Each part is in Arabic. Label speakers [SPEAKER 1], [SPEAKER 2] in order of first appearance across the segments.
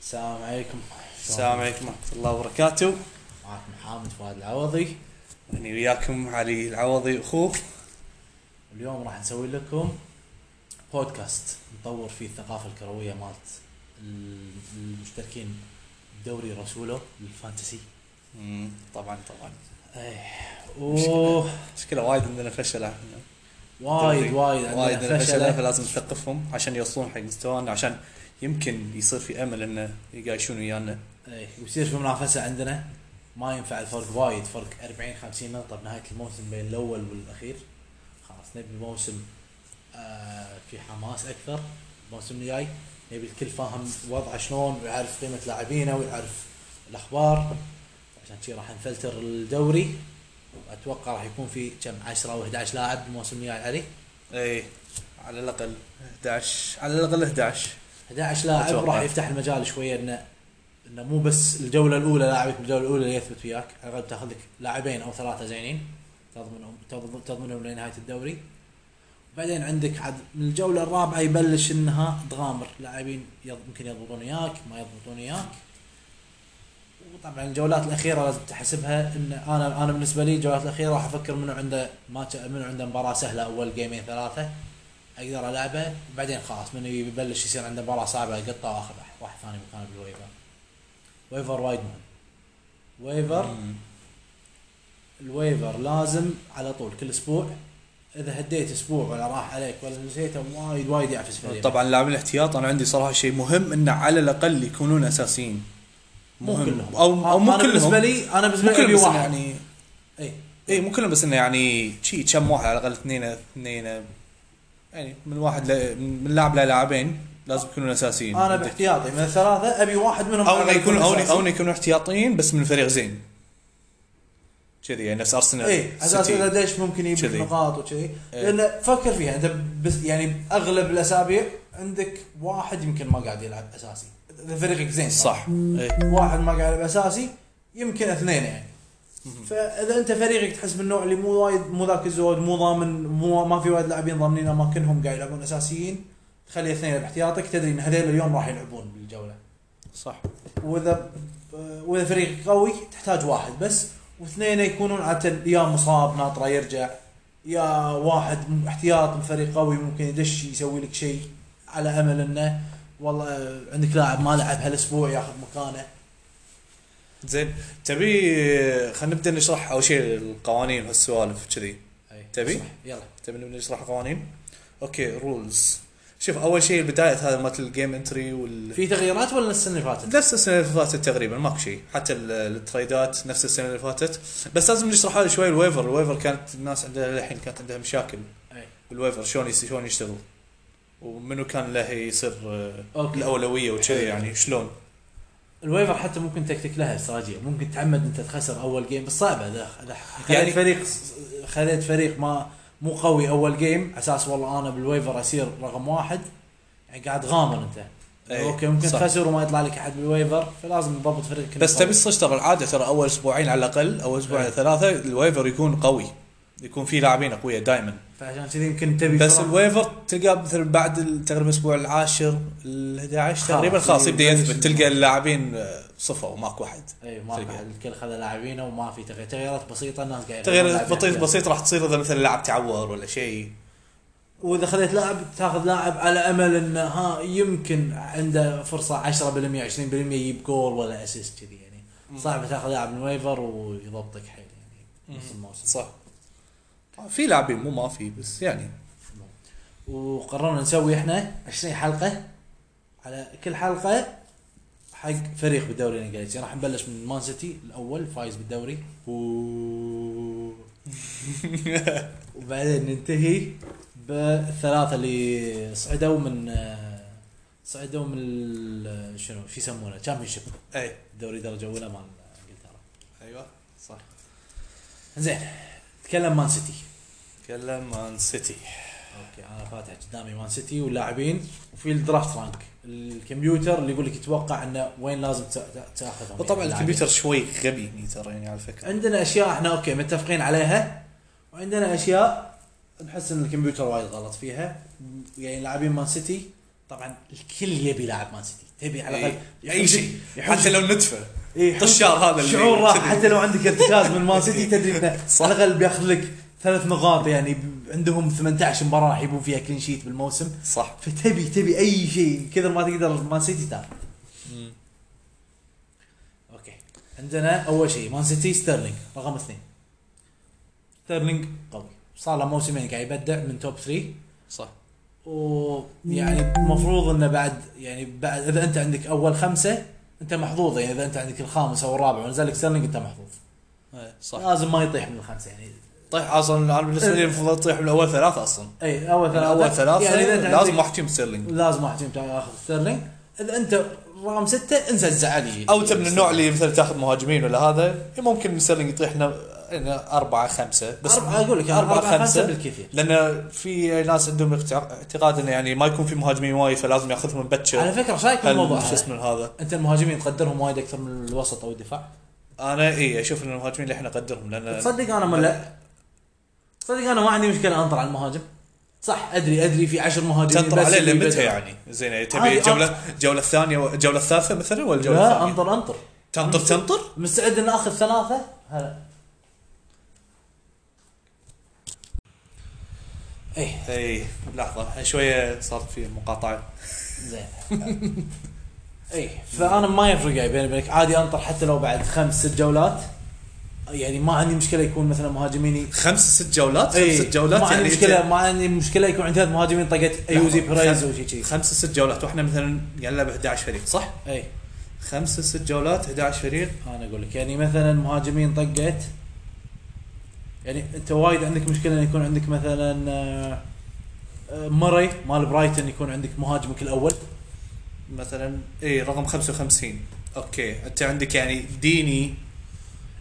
[SPEAKER 1] السلام عليكم
[SPEAKER 2] السلام عليكم ورحمة الله وبركاته
[SPEAKER 1] معكم حامد فؤاد العوضي
[SPEAKER 2] أنا وياكم علي العوضي أخوه
[SPEAKER 1] اليوم راح نسوي لكم بودكاست نطور فيه الثقافة الكروية مالت المشتركين دوري رسوله للفانتسي
[SPEAKER 2] طبعا طبعا إيه.
[SPEAKER 1] ايه و
[SPEAKER 2] مشكلة وايد عندنا فشلة إحنا.
[SPEAKER 1] وايد
[SPEAKER 2] دوري.
[SPEAKER 1] وايد
[SPEAKER 2] وايد
[SPEAKER 1] عندنا
[SPEAKER 2] عندنا فشلة
[SPEAKER 1] فشلة
[SPEAKER 2] فلازم نثقفهم عشان يوصلون حق مستوانا عشان يمكن يصير في أمل إنه يقايشون ويانا
[SPEAKER 1] ايه ويصير في منافسة عندنا ما ينفع الفرق وايد فرق 40 50 نقطة بنهاية الموسم بين الأول والأخير خلاص نبي موسم آه في حماس أكثر الموسم الجاي نبي الكل فاهم وضعه شلون ويعرف قيمة لاعبينه ويعرف الأخبار عشان شي راح نفلتر الدوري وأتوقع راح يكون في كم 10 أو 11 لاعب الموسم الجاي علي
[SPEAKER 2] إي إيه، على الأقل 11 على الأقل 11
[SPEAKER 1] 11 لاعب
[SPEAKER 2] أتوقع.
[SPEAKER 1] راح يفتح المجال شويه انه انه مو بس الجوله الاولى لاعبك بالجوله الاولى اللي يثبت وياك على الاقل تاخذ لك لاعبين او ثلاثه زينين تضمنهم تضمن- تضمنهم لنهايه الدوري بعدين عندك عاد من الجوله الرابعه يبلش انها تغامر لاعبين يض- يمكن يضبطون وياك ما يضبطون وياك وطبعا الجولات الاخيره لازم تحسبها ان انا انا بالنسبه لي الجولات الاخيره راح افكر منو عنده ماتش منو عنده مباراه سهله اول جيمين ثلاثه اقدر العبه بعدين خلاص منو يبلش يصير عنده مباراه صعبه اقطه واخذ واحد ثاني مكانه بالويفر ويفر وايد مهم ويفر
[SPEAKER 2] مم.
[SPEAKER 1] الويفر لازم على طول كل اسبوع اذا هديت اسبوع ولا راح عليك ولا نسيته وايد وايد يعفس فريقك
[SPEAKER 2] طبعا لاعبين الاحتياط أنا عندي صراحة شيء مهم إنه على الأقل يكونون أساسيين
[SPEAKER 1] مو
[SPEAKER 2] مهم.
[SPEAKER 1] كلهم
[SPEAKER 2] أو أو مو
[SPEAKER 1] أنا بالنسبه
[SPEAKER 2] كلهم
[SPEAKER 1] لي انا بالنسبه
[SPEAKER 2] مو
[SPEAKER 1] لي
[SPEAKER 2] كلهم
[SPEAKER 1] أبي
[SPEAKER 2] بس إنه
[SPEAKER 1] واحد إيه.
[SPEAKER 2] يعني
[SPEAKER 1] اي
[SPEAKER 2] اي إيه، مو كلهم بس انه يعني شي كم واحد على الاقل اثنين اثنين يعني من واحد ل... من لاعب للاعبين لازم يكونون اساسيين
[SPEAKER 1] انا باحتياطي من الثلاثه ابي واحد منهم
[SPEAKER 2] او انه يكونون او
[SPEAKER 1] أساسي.
[SPEAKER 2] إنه- او إنه يكونوا احتياطيين بس من فريق زين كذي يعني نفس ارسنال
[SPEAKER 1] اي إيه، على اساس
[SPEAKER 2] سيتي.
[SPEAKER 1] انه ليش ممكن يجيب
[SPEAKER 2] كذي.
[SPEAKER 1] لك نقاط وكذي
[SPEAKER 2] إيه.
[SPEAKER 1] لان فكر فيها انت بس يعني اغلب الاسابيع عندك واحد يمكن ما قاعد يلعب اساسي اذا فريقك زين
[SPEAKER 2] صح إيه. اي
[SPEAKER 1] واحد ما قاعد يلعب اساسي يمكن اثنين يعني فاذا انت فريقك تحس بالنوع اللي مو وايد مو ذاك الزود مو ضامن مو ما في وايد لاعبين ضامنين اماكنهم قاعد يلعبون اساسيين تخلي اثنين باحتياطك تدري ان هذول اليوم راح يلعبون بالجوله
[SPEAKER 2] صح
[SPEAKER 1] واذا واذا فريق قوي تحتاج واحد بس واثنين يكونون عاده يا مصاب ناطره يرجع يا واحد م- احتياط من فريق قوي ممكن يدش يسوي لك شيء على امل انه والله عندك لاعب ما لعب هالاسبوع ياخذ مكانه
[SPEAKER 2] زين تبي خلينا نبدا نشرح اول شيء القوانين والسوالف كذي تبي؟
[SPEAKER 1] صح، يلا
[SPEAKER 2] تبي نبدا نشرح القوانين اوكي رولز شوف اول شيء بدايه هذا مالت الجيم انتري وال
[SPEAKER 1] في تغييرات ولا السنه اللي فاتت؟
[SPEAKER 2] نفس السنه اللي فاتت تقريبا ماكو شيء حتى ال- التريدات نفس السنه اللي فاتت بس لازم نشرح هذا شوي الويفر الويفر كانت الناس عندها للحين كانت عندها مشاكل
[SPEAKER 1] أي.
[SPEAKER 2] بالويفر شلون يس- شلون يشتغل ومنو كان له يصير آه،
[SPEAKER 1] أوكي.
[SPEAKER 2] الاولويه وكذي يعني شلون
[SPEAKER 1] الويفر حتى ممكن تكتك لها استراتيجيه ممكن تعمد انت تخسر اول جيم بس صعبه ذا ذا- خليت
[SPEAKER 2] يعني-
[SPEAKER 1] يعني فريق خليت فريق ما مو قوي اول جيم على اساس والله انا بالويفر اصير رقم واحد يعني قاعد غامر انت
[SPEAKER 2] أي،
[SPEAKER 1] اوكي ممكن
[SPEAKER 2] إيه، صح.
[SPEAKER 1] تخسر وما يطلع لك احد بالويفر فلازم تضبط فريقك
[SPEAKER 2] بس
[SPEAKER 1] إنه
[SPEAKER 2] تبي تصير ترى العاده ترى اول اسبوعين على الاقل او اسبوع
[SPEAKER 1] أي.
[SPEAKER 2] على ثلاثه الويفر يكون قوي يكون فيه لاعبين اقوياء دائما
[SPEAKER 1] قوي. فعشان كذي يمكن تبي
[SPEAKER 2] بس
[SPEAKER 1] فرق.
[SPEAKER 2] الويفر تلقاه مثل بعد ال- تقريبا الاسبوع العاشر ال 11 تقريبا
[SPEAKER 1] خلاص، إيه،
[SPEAKER 2] خلاص يبدا
[SPEAKER 1] يبلش
[SPEAKER 2] يثبت تلقى اللاعبين آه، صفى وماكو واحد
[SPEAKER 1] اي إيه، ما في
[SPEAKER 2] تلقى.
[SPEAKER 1] احد الكل خذ لاعبينه وما في تغيير تغييرات بسيطه الناس قاعد
[SPEAKER 2] تغيير بسيط بسيط راح تصير اذا مثلا لاعب تعور ولا شيء
[SPEAKER 1] واذا خذيت لاعب تاخذ لاعب على امل انه ها يمكن عنده فرصه 10% 20% يجيب جول ولا اسيست كذي يعني صعب تاخذ لاعب من ويفر ويضبطك حيل يعني نص الموسم
[SPEAKER 2] صح في لاعبين مو ما في بس يعني
[SPEAKER 1] وقررنا نسوي احنا 20 حلقه على كل حلقه حق فريق بالدوري الانجليزي راح نبلش من مان سيتي الاول فايز بالدوري و- وبعدين ننتهي بالثلاثه اللي صعدوا من صعدوا من ال- شنو شو يسمونه تشامبيونشيب
[SPEAKER 2] اي
[SPEAKER 1] دوري درجه اولى مال انجلترا
[SPEAKER 2] ايوه إيه، صح
[SPEAKER 1] زين تكلم مان سيتي
[SPEAKER 2] تكلم عن سيتي
[SPEAKER 1] يعني اوكي انا فاتح قدامي مان سيتي واللاعبين وفي الدرافت رانك الكمبيوتر اللي يقول لك يتوقع انه وين لازم تا- تا- تاخذهم
[SPEAKER 2] وطبعا
[SPEAKER 1] يعني
[SPEAKER 2] الكمبيوتر شوي غبي يعني ترى يعني على
[SPEAKER 1] اللاعبين.
[SPEAKER 2] فكره
[SPEAKER 1] عندنا اشياء احنا اوكي متفقين عليها وعندنا اشياء نحس ان الكمبيوتر وايد غلط فيها يعني لاعبين مان سيتي طبعا الكل يبي لاعب مان سيتي تبي على
[SPEAKER 2] إي.
[SPEAKER 1] الاقل
[SPEAKER 2] اي إيه، شيء
[SPEAKER 1] يحوج-
[SPEAKER 2] حتى لو نتفه
[SPEAKER 1] إي، يحوج-
[SPEAKER 2] طشار هذا اللي
[SPEAKER 1] شعور راح
[SPEAKER 2] كذي.
[SPEAKER 1] حتى لو عندك ارتكاز من مان سيتي تدري انه
[SPEAKER 2] صح.
[SPEAKER 1] على الاقل بياخذ لك ثلاث نقاط يعني ب- عندهم 18 مباراه راح يبون فيها كلين شيت بالموسم
[SPEAKER 2] صح
[SPEAKER 1] فتبي تبي اي شيء كثر ما تقدر مان سيتي تاخذ اوكي عندنا اول شيء مان سيتي ستيرلينج رقم اثنين ستيرلينج قوي صار له موسمين قاعد يبدع من توب 3
[SPEAKER 2] صح
[SPEAKER 1] ويعني المفروض انه يعني بعد يعني بعد اذا انت عندك اول خمسه انت محظوظ يعني اذا انت عندك الخامس او الرابع ونزل لك ستيرلينج انت محظوظ
[SPEAKER 2] إيه، صح
[SPEAKER 1] لازم ما يطيح من الخمسه يعني
[SPEAKER 2] طيح اصلا انا بالنسبه لي المفروض تطيح من اول ثلاثه اصلا
[SPEAKER 1] اي اول
[SPEAKER 2] من
[SPEAKER 1] ثلاثه
[SPEAKER 2] اول ثلاثه
[SPEAKER 1] يعني إذا أنت
[SPEAKER 2] لازم
[SPEAKER 1] عندك-
[SPEAKER 2] احكي ستيرلينج
[SPEAKER 1] لازم واحد يجيب ياخذ ستيرلينج اذا انت رقم سته انسى الزعلي
[SPEAKER 2] او انت من النوع اللي مثلا تاخذ مهاجمين ولا هذا إيه، ممكن ستيرلينج يطيح لنا لنا اربعه خمسه
[SPEAKER 1] بس
[SPEAKER 2] بس يعني
[SPEAKER 1] اقول لك
[SPEAKER 2] أربعة
[SPEAKER 1] اربعه خمسه
[SPEAKER 2] خمسة.
[SPEAKER 1] بالكثير
[SPEAKER 2] لان في ناس عندهم اقتع- اعتقاد انه يعني ما يكون في مهاجمين وايد فلازم ياخذهم من
[SPEAKER 1] على
[SPEAKER 2] بتشر
[SPEAKER 1] فكره ايش رايك بالموضوع
[SPEAKER 2] هل- شو
[SPEAKER 1] هذا؟
[SPEAKER 2] اسمه هذا
[SPEAKER 1] انت المهاجمين تقدرهم وايد اكثر من الوسط او الدفاع
[SPEAKER 2] انا اي اشوف ان إيه، المهاجمين اللي احنا نقدرهم لان
[SPEAKER 1] تصدق انا ما لا تصدق انا ما عندي مشكله انطر على المهاجم صح ادري ادري في عشر مهاجمين
[SPEAKER 2] تنطر
[SPEAKER 1] بس
[SPEAKER 2] عليه
[SPEAKER 1] اللي
[SPEAKER 2] لمتى
[SPEAKER 1] يبدعون.
[SPEAKER 2] يعني زين
[SPEAKER 1] عادي،
[SPEAKER 2] تبي الجوله الجوله الثانيه و- الجوله الثالثه مثلا ولا الجوله
[SPEAKER 1] لا
[SPEAKER 2] الثانيه؟
[SPEAKER 1] انطر انطر
[SPEAKER 2] تنطر تنطر؟
[SPEAKER 1] مستعد ان اخذ ثلاثه هلا ايه
[SPEAKER 2] اي لحظه شويه صارت في مقاطعه
[SPEAKER 1] زين اي فانا ما يفرق يعني بيني وبينك عادي انطر حتى لو بعد خمس ست جولات يعني ما عندي مشكله يكون مثلا مهاجميني
[SPEAKER 2] خمس ست جولات
[SPEAKER 1] إي،
[SPEAKER 2] خمس ست جولات
[SPEAKER 1] إيه، ما عندي مشكله
[SPEAKER 2] يعني نعم، أنت-
[SPEAKER 1] ما عندي مشكله يكون عندي ثلاث مهاجمين طقت ايوزي
[SPEAKER 2] لحظة.
[SPEAKER 1] بريز وشي شي
[SPEAKER 2] خمس ست جولات واحنا مثلا قاعد نلعب 11 فريق صح؟
[SPEAKER 1] اي
[SPEAKER 2] خمس ست جولات 11 فريق
[SPEAKER 1] انا اقول إيه، لك يعني مثلا مهاجمين طقت يعني انت وايد عندك مشكله ان يكون عندك مثلا آه، آه، مري مال برايتن يكون عندك مهاجمك الاول
[SPEAKER 2] مثلا اي رقم 55 اوكي انت عندك يعني ديني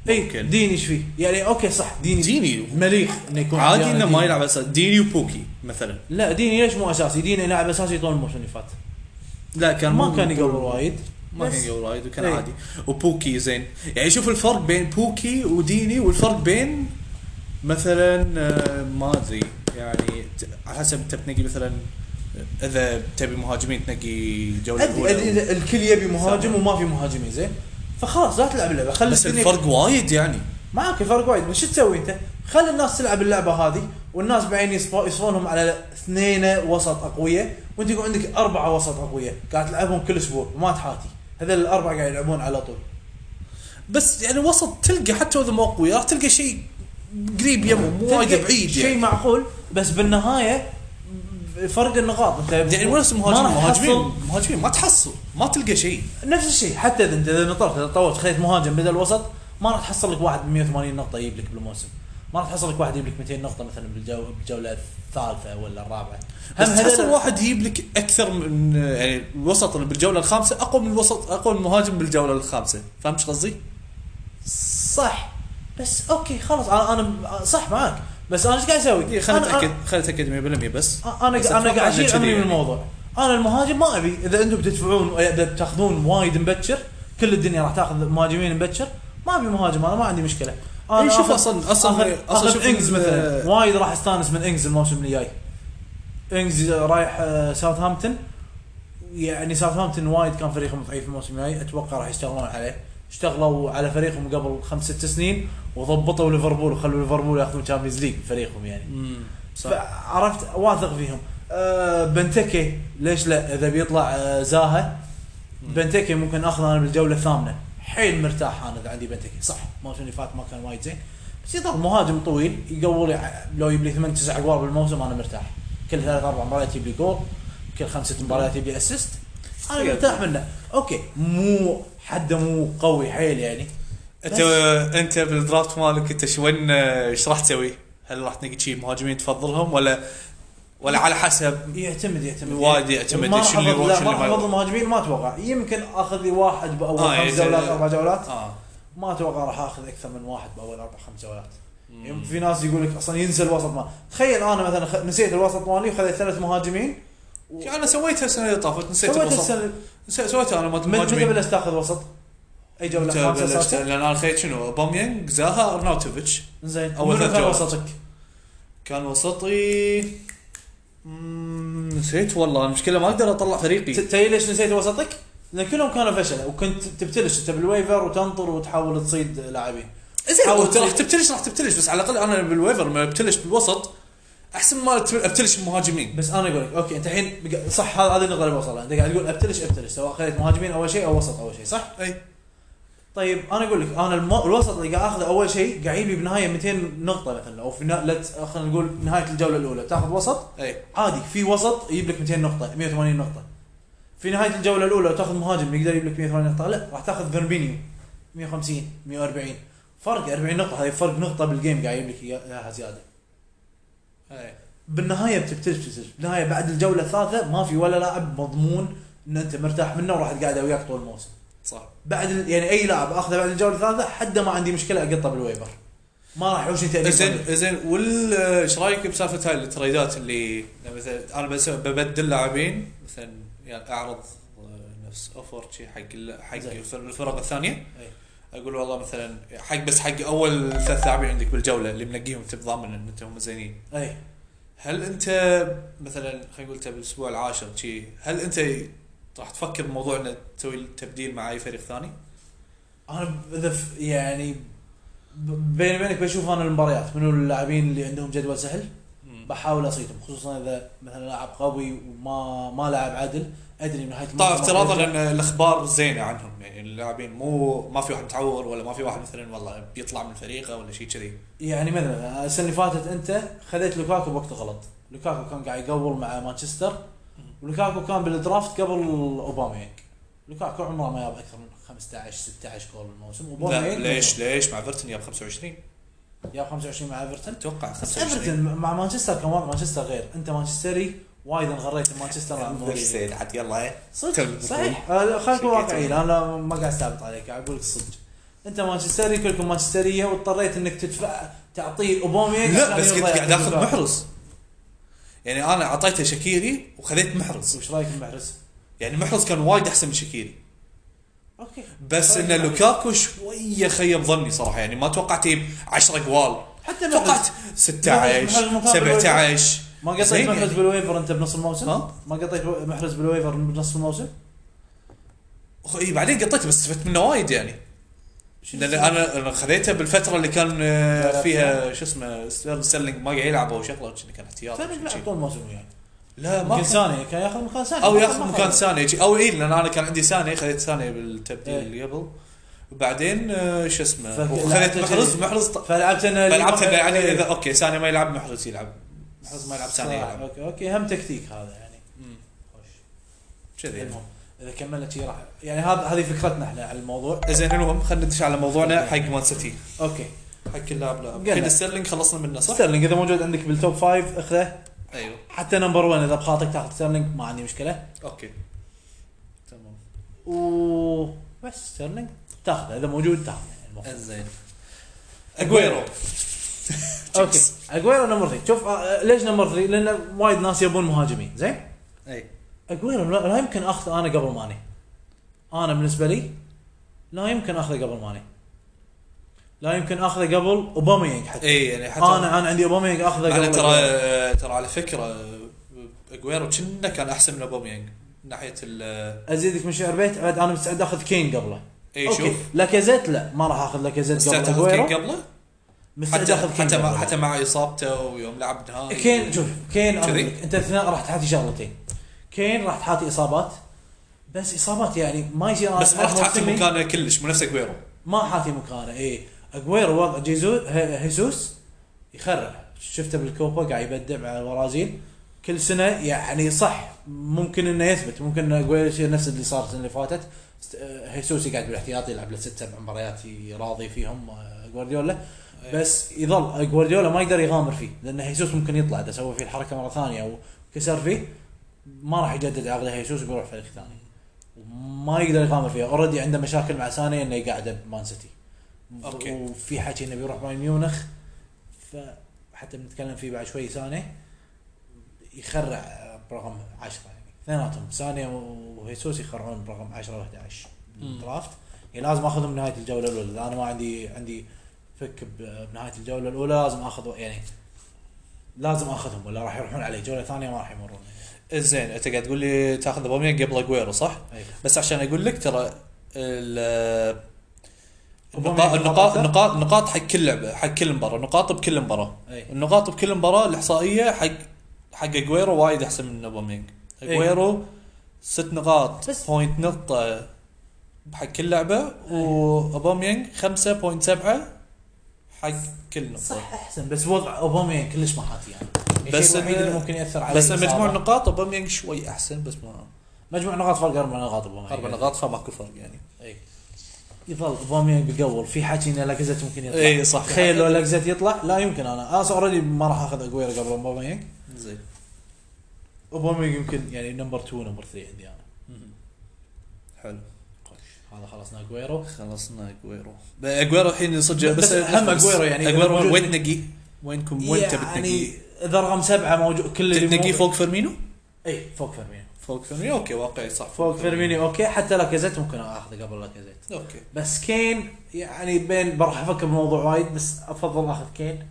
[SPEAKER 1] اي
[SPEAKER 2] ممكن.
[SPEAKER 1] إيه، ديني ايش فيه؟ يعني اوكي صح ديني
[SPEAKER 2] ديني
[SPEAKER 1] مليخ انه يكون
[SPEAKER 2] عادي
[SPEAKER 1] عندي أنا
[SPEAKER 2] انه ما
[SPEAKER 1] ديني.
[SPEAKER 2] يلعب اساسي ديني وبوكي مثلا
[SPEAKER 1] لا ديني ليش مو اساسي؟ ديني لاعب اساسي طول الموسم اللي فات
[SPEAKER 2] لا كان
[SPEAKER 1] ما
[SPEAKER 2] مو-
[SPEAKER 1] كان يقول وايد
[SPEAKER 2] ما
[SPEAKER 1] بس-
[SPEAKER 2] كان يقول وايد وكان
[SPEAKER 1] إيه.
[SPEAKER 2] عادي وبوكي زين يعني شوف الفرق بين بوكي وديني والفرق بين مثلا آه، ما ادري يعني ت- على حسب انت بتنقي مثلا اذا تبي مهاجمين تنقي جوله
[SPEAKER 1] ادري
[SPEAKER 2] اولى
[SPEAKER 1] ادري الكل يبي مهاجم
[SPEAKER 2] صح.
[SPEAKER 1] وما في مهاجمين زين فخلاص لا تلعب اللعبه خلي
[SPEAKER 2] بس
[SPEAKER 1] الدنيا-
[SPEAKER 2] الفرق وايد يعني
[SPEAKER 1] معاك الفرق وايد بس شو تسوي انت؟ خلي الناس تلعب اللعبه هذه والناس بعدين يصف- يصفونهم على اثنين وسط اقوياء وانت يكون عندك اربعه وسط اقوياء قاعد تلعبهم كل اسبوع وما تحاتي هذول الاربعه قاعد يلعبون على طول
[SPEAKER 2] بس يعني وسط تلقى حتى اذا مو قوي راح تلقى شيء قريب يمه مو وايد
[SPEAKER 1] تلقى
[SPEAKER 2] بعيد
[SPEAKER 1] شيء
[SPEAKER 2] يعني
[SPEAKER 1] معقول بس بالنهايه فرق النقاط انت
[SPEAKER 2] يعني نفس
[SPEAKER 1] ما
[SPEAKER 2] المهاجمين
[SPEAKER 1] راح تحصل-
[SPEAKER 2] مهاجمين مهاجمين ما تحصل ما تلقى شيء
[SPEAKER 1] نفس الشيء حتى اذا انت اذا نطرت اذا طورت خليت مهاجم بدل الوسط ما راح تحصل لك واحد ب 180 نقطه يجيب لك بالموسم ما راح تحصل لك واحد يجيب لك 200 نقطه مثلا بالجو بالجوله الثالثه ولا الرابعه
[SPEAKER 2] بس تحصل
[SPEAKER 1] هذول-
[SPEAKER 2] واحد يجيب لك اكثر من يعني الوسط اللي بالجوله الخامسه اقوى من الوسط اقوى من المهاجم بالجوله الخامسه فهمت ايش قصدي؟
[SPEAKER 1] صح بس اوكي خلاص انا انا صح معاك بس انا ايش قاعد اسوي؟
[SPEAKER 2] إيه، خليني
[SPEAKER 1] أنا- أنا-
[SPEAKER 2] اتاكد خليني اتاكد 100% بس
[SPEAKER 1] انا
[SPEAKER 2] بس
[SPEAKER 1] انا
[SPEAKER 2] أتوقع
[SPEAKER 1] قاعد اشيل
[SPEAKER 2] إنه كذي
[SPEAKER 1] امري من
[SPEAKER 2] يعني.
[SPEAKER 1] الموضوع انا المهاجم ما ابي اذا انتم بتدفعون اذا بتاخذون وايد مبكر كل الدنيا راح تاخذ مهاجمين مبكر ما ابي مهاجم انا ما عندي مشكله انا
[SPEAKER 2] إيه، شوف
[SPEAKER 1] آخذ-
[SPEAKER 2] أصلاً- أصلاً-
[SPEAKER 1] آخذ-
[SPEAKER 2] أصلاً
[SPEAKER 1] آخذ
[SPEAKER 2] شوف
[SPEAKER 1] انجز
[SPEAKER 2] إن-
[SPEAKER 1] مثلا وايد راح استانس من انجز الموسم اللي جاي انجز رايح آه، ساوثهامبتون يعني ساوثهامبتون وايد كان فريقهم ضعيف الموسم الجاي اتوقع راح يشتغلون عليه اشتغلوا على فريقهم قبل خمس ست سنين وضبطوا ليفربول وخلوا ليفربول ياخذون تشامبيونز ليج فريقهم يعني
[SPEAKER 2] أمم، صح
[SPEAKER 1] فعرفت واثق فيهم آه بنتكي ليش لا اذا بيطلع آه زاها بنتكي ممكن اخذه انا بالجوله الثامنه حيل مرتاح انا اذا عندي بنتكي صح الموسم اللي فات ما كان وايد زين بس يضل مهاجم طويل يقول لي ع- لو يجيب لي ثمان تسع اقوال بالموسم انا مرتاح كل ثلاث اربع مباريات يجيب لي جول كل خمسة مباريات يجيب لي اسيست انا مرتاح منه اوكي مو حده مو قوي حيل يعني
[SPEAKER 2] انت انت بالدرافت مالك انت شو وين ايش راح تسوي؟ هل راح تنقي شي مهاجمين تفضلهم ولا ولا على حسب
[SPEAKER 1] يعتمد يعتمد
[SPEAKER 2] وايد يعتمد
[SPEAKER 1] ما
[SPEAKER 2] شنو
[SPEAKER 1] راح
[SPEAKER 2] يروح،
[SPEAKER 1] أفضل- لا،
[SPEAKER 2] شنو
[SPEAKER 1] ما
[SPEAKER 2] ما
[SPEAKER 1] راح
[SPEAKER 2] يروح.
[SPEAKER 1] افضل مهاجمين ما اتوقع يمكن اخذ لي واحد باول
[SPEAKER 2] آه،
[SPEAKER 1] خمس
[SPEAKER 2] إذا-
[SPEAKER 1] جولات اربع جولات
[SPEAKER 2] اه
[SPEAKER 1] ما اتوقع راح اخذ اكثر من واحد باول اربع خمس جولات
[SPEAKER 2] مم.
[SPEAKER 1] يعني في ناس يقول لك اصلا ينسى الوسط ما تخيل انا مثلا خ... نسيت الوسط مالي وخذيت ثلاث مهاجمين و...
[SPEAKER 2] يعني انا سويتها السنه اللي طافت نسيت
[SPEAKER 1] سويت
[SPEAKER 2] الوسط
[SPEAKER 1] السنه
[SPEAKER 2] نسيت- سويتها انا مالت
[SPEAKER 1] من متى
[SPEAKER 2] المهاجمين.
[SPEAKER 1] بلشت تاخذ وسط؟ اي جوله
[SPEAKER 2] متى
[SPEAKER 1] خامسه
[SPEAKER 2] بلشت؟ يعني؟
[SPEAKER 1] سادسه
[SPEAKER 2] لان انا خذيت شنو؟ اوباميانج زاها ارناوتوفيتش
[SPEAKER 1] زين
[SPEAKER 2] أول
[SPEAKER 1] اول
[SPEAKER 2] ثلاث
[SPEAKER 1] كان
[SPEAKER 2] جولات.
[SPEAKER 1] وسطك
[SPEAKER 2] كان وسطي مم، نسيت والله المشكله ما اقدر اطلع فريقي
[SPEAKER 1] تدري ليش نسيت وسطك؟ لان كلهم كانوا فشله وكنت تبتلش انت بالويفر وتنطر وتحاول تصيد لاعبين
[SPEAKER 2] زين
[SPEAKER 1] حاول
[SPEAKER 2] أنت راح
[SPEAKER 1] تصيد.
[SPEAKER 2] تبتلش راح تبتلش بس على الاقل انا بالويفر لما ابتلش بالوسط احسن ما أبتل- ابتلش بمهاجمين
[SPEAKER 1] بس انا اقول لك اوكي انت الحين بق- صح هذا هذه النقطه اللي بوصلها انت قاعد تقول ابتلش ابتلش سواء خليت مهاجمين اول شيء او وسط اول شيء صح؟
[SPEAKER 2] اي
[SPEAKER 1] طيب انا اقول لك انا الم... الوسط اللي قاعد اخذه اول شيء قاعد يجيب لي بنهايه 200 نقطه مثلا او في نا... لت... خلينا نقول نهايه الجوله الاولى تاخذ وسط
[SPEAKER 2] اي
[SPEAKER 1] عادي في وسط يجيب لك 200 نقطه 180 نقطه في نهايه الجوله الاولى تاخذ مهاجم يقدر يجيب لك 180 نقطه لا راح تاخذ فيربينيو 150 140 فرق 40 نقطه هذا فرق نقطه بالجيم قاعد يجيب لك اياها زياده
[SPEAKER 2] اي
[SPEAKER 1] بالنهايه بتبتلش بالنهايه بعد الجوله الثالثه ما في ولا لاعب مضمون ان انت مرتاح منه وراح تقعده وياك طول الموسم
[SPEAKER 2] صح
[SPEAKER 1] بعد ال- يعني اي لاعب اخذه بعد الجوله الثالثه حده ما عندي مشكله اقطه بالويبر ما راح يحوشني تاثير سلبي.
[SPEAKER 2] إيه، زين زين وال ايش رايك بسالفه هاي التريدات اللي مثلا انا بس ببدل لاعبين مثلا يعني اعرض آه، نفس اوفر شي حق ال- حق
[SPEAKER 1] زين.
[SPEAKER 2] الفر- الفرق الثانيه
[SPEAKER 1] أي.
[SPEAKER 2] اقول والله مثلا حق بس حق اول ثلاث لاعبين عندك بالجوله اللي منقيهم انت بضامن ان انت هم زينين
[SPEAKER 1] اي
[SPEAKER 2] هل انت مثلا خلينا نقول انت بالاسبوع العاشر شي هل انت راح تفكر بموضوع انك تسوي التبديل مع اي فريق ثاني؟
[SPEAKER 1] انا ب- اذا ف- يعني ب- بيني وبينك بشوف انا المباريات منو اللاعبين اللي عندهم جدول سهل بحاول اصيدهم خصوصا اذا مثلا لاعب قوي وما ما لاعب عدل ادري من نهايه
[SPEAKER 2] طيب
[SPEAKER 1] الموسم
[SPEAKER 2] افتراضا ان الاخبار زينه عنهم يعني اللاعبين مو ما في واحد متعور ولا ما في واحد مثلا والله بيطلع من فريقه ولا شيء كذي
[SPEAKER 1] يعني مثلا السنه اللي فاتت انت خذيت لوكاكو بوقت غلط لوكاكو كان قاعد يقول مع مانشستر ولوكاكو كان بالدرافت قبل اوباميانج لوكاكو عمره ما جاب اكثر من 15 16 جول بالموسم
[SPEAKER 2] لا
[SPEAKER 1] اوباميانج
[SPEAKER 2] ليش ليش مع ايفرتون جاب 25
[SPEAKER 1] جاب 25 مع ايفرتون
[SPEAKER 2] اتوقع
[SPEAKER 1] بس
[SPEAKER 2] 25
[SPEAKER 1] ايفرتون مع مانشستر كان وضع مانشستر غير انت مانشستري وايد انغريت مانشستر مع
[SPEAKER 2] انظر
[SPEAKER 1] المغربي.
[SPEAKER 2] سيد يعني عاد يلا
[SPEAKER 1] صدق
[SPEAKER 2] تلعب
[SPEAKER 1] صحيح آه، خلينا نكون
[SPEAKER 2] شكيت.
[SPEAKER 1] واقعيين انا ما قاعد استعبط عليك قاعد اقول لك الصدق انت مانشستري كلكم مانشستريه واضطريت انك تدفع تعطيه اوباميانج
[SPEAKER 2] لا
[SPEAKER 1] عشان
[SPEAKER 2] بس كنت
[SPEAKER 1] يرضى
[SPEAKER 2] قاعد
[SPEAKER 1] يعطيك
[SPEAKER 2] اخذ
[SPEAKER 1] لوكاكو.
[SPEAKER 2] محرز يعني انا اعطيته شكيري وخذيت محرز
[SPEAKER 1] وش رايك بمحرز؟
[SPEAKER 2] يعني محرز كان وايد احسن من شكيري
[SPEAKER 1] اوكي
[SPEAKER 2] بس ان لوكاكو شويه خيب ظني صراحه يعني ما توقعت يجيب 10 جوال
[SPEAKER 1] حتى
[SPEAKER 2] توقعت
[SPEAKER 1] محرز
[SPEAKER 2] 16
[SPEAKER 1] محرز مقابل
[SPEAKER 2] 17
[SPEAKER 1] ما قطيت
[SPEAKER 2] زين
[SPEAKER 1] محرز
[SPEAKER 2] يعني.
[SPEAKER 1] بالويفر انت بنص الموسم؟
[SPEAKER 2] ها؟
[SPEAKER 1] ما قطيت محرز بالويفر بنص الموسم؟
[SPEAKER 2] أخ- إيه بعدين قطيته بس استفدت منه وايد يعني لان انا انا خذيته بالفتره اللي كان آه،
[SPEAKER 1] لا، لا،
[SPEAKER 2] فيها شو اسمه ستير- سيرلينج ما قاعد يلعب او شغله كنا كان احتياط أو
[SPEAKER 1] ثاني
[SPEAKER 2] شي.
[SPEAKER 1] لعب طول الموسم وياك
[SPEAKER 2] لا ما
[SPEAKER 1] يمكن
[SPEAKER 2] كان-
[SPEAKER 1] ثاني كان ياخذ مكان ثاني
[SPEAKER 2] او
[SPEAKER 1] ما
[SPEAKER 2] ياخذ
[SPEAKER 1] ما
[SPEAKER 2] مكان
[SPEAKER 1] خذ.
[SPEAKER 2] ثاني شي. او اي لان انا كان عندي ثاني خذيت ثاني بالتبديل
[SPEAKER 1] إيه.
[SPEAKER 2] اللي قبل وبعدين آه، شو اسمه
[SPEAKER 1] فك-
[SPEAKER 2] وخذيت
[SPEAKER 1] لعبت
[SPEAKER 2] محرز
[SPEAKER 1] جديد.
[SPEAKER 2] محرز ط-
[SPEAKER 1] فلعبت انا اللي
[SPEAKER 2] فلعبت
[SPEAKER 1] ما- إيه.
[SPEAKER 2] يعني اذا اوكي ثاني ما يلعب محرز يلعب محرز ما يلعب ثاني يعني.
[SPEAKER 1] صح،
[SPEAKER 2] يلعب
[SPEAKER 1] اوكي اوكي هم تكتيك هذا يعني
[SPEAKER 2] مم.
[SPEAKER 1] خوش
[SPEAKER 2] كذي
[SPEAKER 1] المهم اذا كملنا شي راح يعني هذا هذه فكرتنا احنا على الموضوع
[SPEAKER 2] زين المهم خلينا ندش على موضوعنا حق مان سيتي
[SPEAKER 1] اوكي
[SPEAKER 2] حق كل لاعب لاعب
[SPEAKER 1] قلنا.
[SPEAKER 2] كل ستيرلينج خلصنا منه صح؟
[SPEAKER 1] ستيرلينج اذا موجود عندك بالتوب فايف اخذه
[SPEAKER 2] ايوه
[SPEAKER 1] حتى نمبر 1 اذا بخاطرك تاخذ ستيرلينج ما عندي مشكله
[SPEAKER 2] اوكي تمام
[SPEAKER 1] وبس ستيرلينج تاخذه اذا موجود تاخذه يعني المفروض.
[SPEAKER 2] زين اجويرو
[SPEAKER 1] اوكي اجويرو نمبر 3 شوف آه، ليش نمبر 3 لان وايد ناس يبون مهاجمين زين
[SPEAKER 2] اي
[SPEAKER 1] اجويرو لا, لا يمكن اخذه انا قبل ماني انا بالنسبه لي لا يمكن اخذه قبل ماني لا يمكن اخذه قبل اوباميانج حتى
[SPEAKER 2] اي يعني حتى
[SPEAKER 1] انا انا عندي اوباميانج اخذه قبل
[SPEAKER 2] انا
[SPEAKER 1] أجويرو.
[SPEAKER 2] ترى ترى على فكره اجويرو كنا كان احسن من اوباميانج من ناحيه ال
[SPEAKER 1] ازيدك من شعر بيت عاد انا مستعد اخذ كين قبله
[SPEAKER 2] اي إيه، شوف
[SPEAKER 1] لاكازيت لا ما راح اخذ لاكازيت قبل
[SPEAKER 2] مستعد تاخذ كين
[SPEAKER 1] اجويرو
[SPEAKER 2] قبله
[SPEAKER 1] مستعد
[SPEAKER 2] حتى
[SPEAKER 1] اخذ كين
[SPEAKER 2] حتى مع
[SPEAKER 1] قبله.
[SPEAKER 2] حتى مع اصابته ويوم لعب نهائي
[SPEAKER 1] كين شوف كين أنا
[SPEAKER 2] آه، إيه. كذي؟
[SPEAKER 1] أقول لك، انت اثنين راح تحاتي شغلتين كين راح تحاتي اصابات بس اصابات يعني ما يصير أنا
[SPEAKER 2] بس ما راح
[SPEAKER 1] ألعب
[SPEAKER 2] تعطي
[SPEAKER 1] موسمي،
[SPEAKER 2] مكانه كلش مو نفس اجويرو
[SPEAKER 1] ما حاتي مكانه اي اجويرو وضع جيزو ه- هيسوس يخرع شفته بالكوبا قاعد يبدع مع البرازيل كل سنه يعني صح ممكن انه يثبت ممكن إن اجويرو يصير نفس اللي صار السنه اللي فاتت است- آه، هيسوس يقعد بالاحتياط يلعب له ست سبع مباريات راضي فيهم آه، جوارديولا بس يظل آه، جوارديولا ما يقدر يغامر فيه لان هيسوس ممكن يطلع اذا سوى فيه الحركه مره ثانيه او كسر فيه ما راح يجدد عقده هيسوس ويروح فريق ثاني وما يقدر يغامر فيها اوريدي عنده مشاكل مع ساني انه يقعده بمان سيتي
[SPEAKER 2] أوكي.
[SPEAKER 1] وفي حكي انه بيروح بايرن ميونخ فحتى بنتكلم فيه بعد شوي ساني يخرع برقم 10 يعني اثنيناتهم ساني وهيسوس يخرعون برقم 10 و11
[SPEAKER 2] مم.
[SPEAKER 1] درافت يعني لازم اخذهم نهايه الجوله الاولى لأن انا ما عندي عندي فك ب- بنهايه الجوله الاولى لازم اخذ يعني لازم اخذهم ولا راح يروحون علي جوله ثانيه ما راح يمرون
[SPEAKER 2] زين انت قاعد تقول لي تاخذ اوباميانج قبل اجويرو صح؟
[SPEAKER 1] أي.
[SPEAKER 2] بس عشان اقول لك ترى ال- النقاط
[SPEAKER 1] أوباميانج
[SPEAKER 2] النقاط
[SPEAKER 1] أكثر؟
[SPEAKER 2] النقاط النقاط حق كل لعبه حق كل مباراه نقاط بكل مباراه
[SPEAKER 1] أي.
[SPEAKER 2] النقاط بكل مباراه الاحصائيه حق حق اجويرو وايد احسن من اوباميانج
[SPEAKER 1] أي.
[SPEAKER 2] اجويرو ست نقاط
[SPEAKER 3] بس-
[SPEAKER 2] بوينت نقطه حق كل لعبه واوباميانج 5.7 حق كل نقطه
[SPEAKER 1] صح احسن بس وضع اوباميان كلش ما حاتي يعني
[SPEAKER 2] بس
[SPEAKER 1] بس الوحيد
[SPEAKER 2] إنه-
[SPEAKER 1] اللي ممكن ياثر على
[SPEAKER 2] بس
[SPEAKER 1] الإصابة.
[SPEAKER 2] مجموع النقاط اوباميانج شوي احسن بس ما
[SPEAKER 1] مجموع نقاط فرق اربع نقاط اوباميان
[SPEAKER 2] اربع نقاط فماكو فرق يعني
[SPEAKER 1] اي يظل اوباميان بيقول في حكي ان لاكازيت ممكن يطلع
[SPEAKER 2] إي صح.
[SPEAKER 1] تخيل لو لاكازيت يطلع لا يمكن انا انا اوريدي ما راح اخذ اجويرو قبل اوباميان
[SPEAKER 2] زين
[SPEAKER 1] اوباميان يمكن يعني نمبر 2 نمبر 3 عندي انا
[SPEAKER 2] حلو
[SPEAKER 1] هذا خلصنا اجويرو
[SPEAKER 2] خلصنا اجويرو اجويرو الحين صدق
[SPEAKER 1] بس هم أجويرو يعني إذا
[SPEAKER 2] اجويرو
[SPEAKER 1] موجود-
[SPEAKER 2] وين تنقيه؟ وينكم وين تبي تنقيه؟
[SPEAKER 1] اذا يعني رقم سبعه موجود كل اللي
[SPEAKER 2] تنقيه
[SPEAKER 1] موجود-
[SPEAKER 2] فوق فيرمينو؟
[SPEAKER 1] اي فوق فيرمينو
[SPEAKER 2] فوق فيرمينو اوكي واقعي صح
[SPEAKER 1] فوق فيرمينو اوكي حتى لاكازيت ممكن اخذه قبل لاكازيت
[SPEAKER 2] اوكي
[SPEAKER 1] بس كين يعني بين راح افكر بالموضوع وايد بس افضل اخذ كين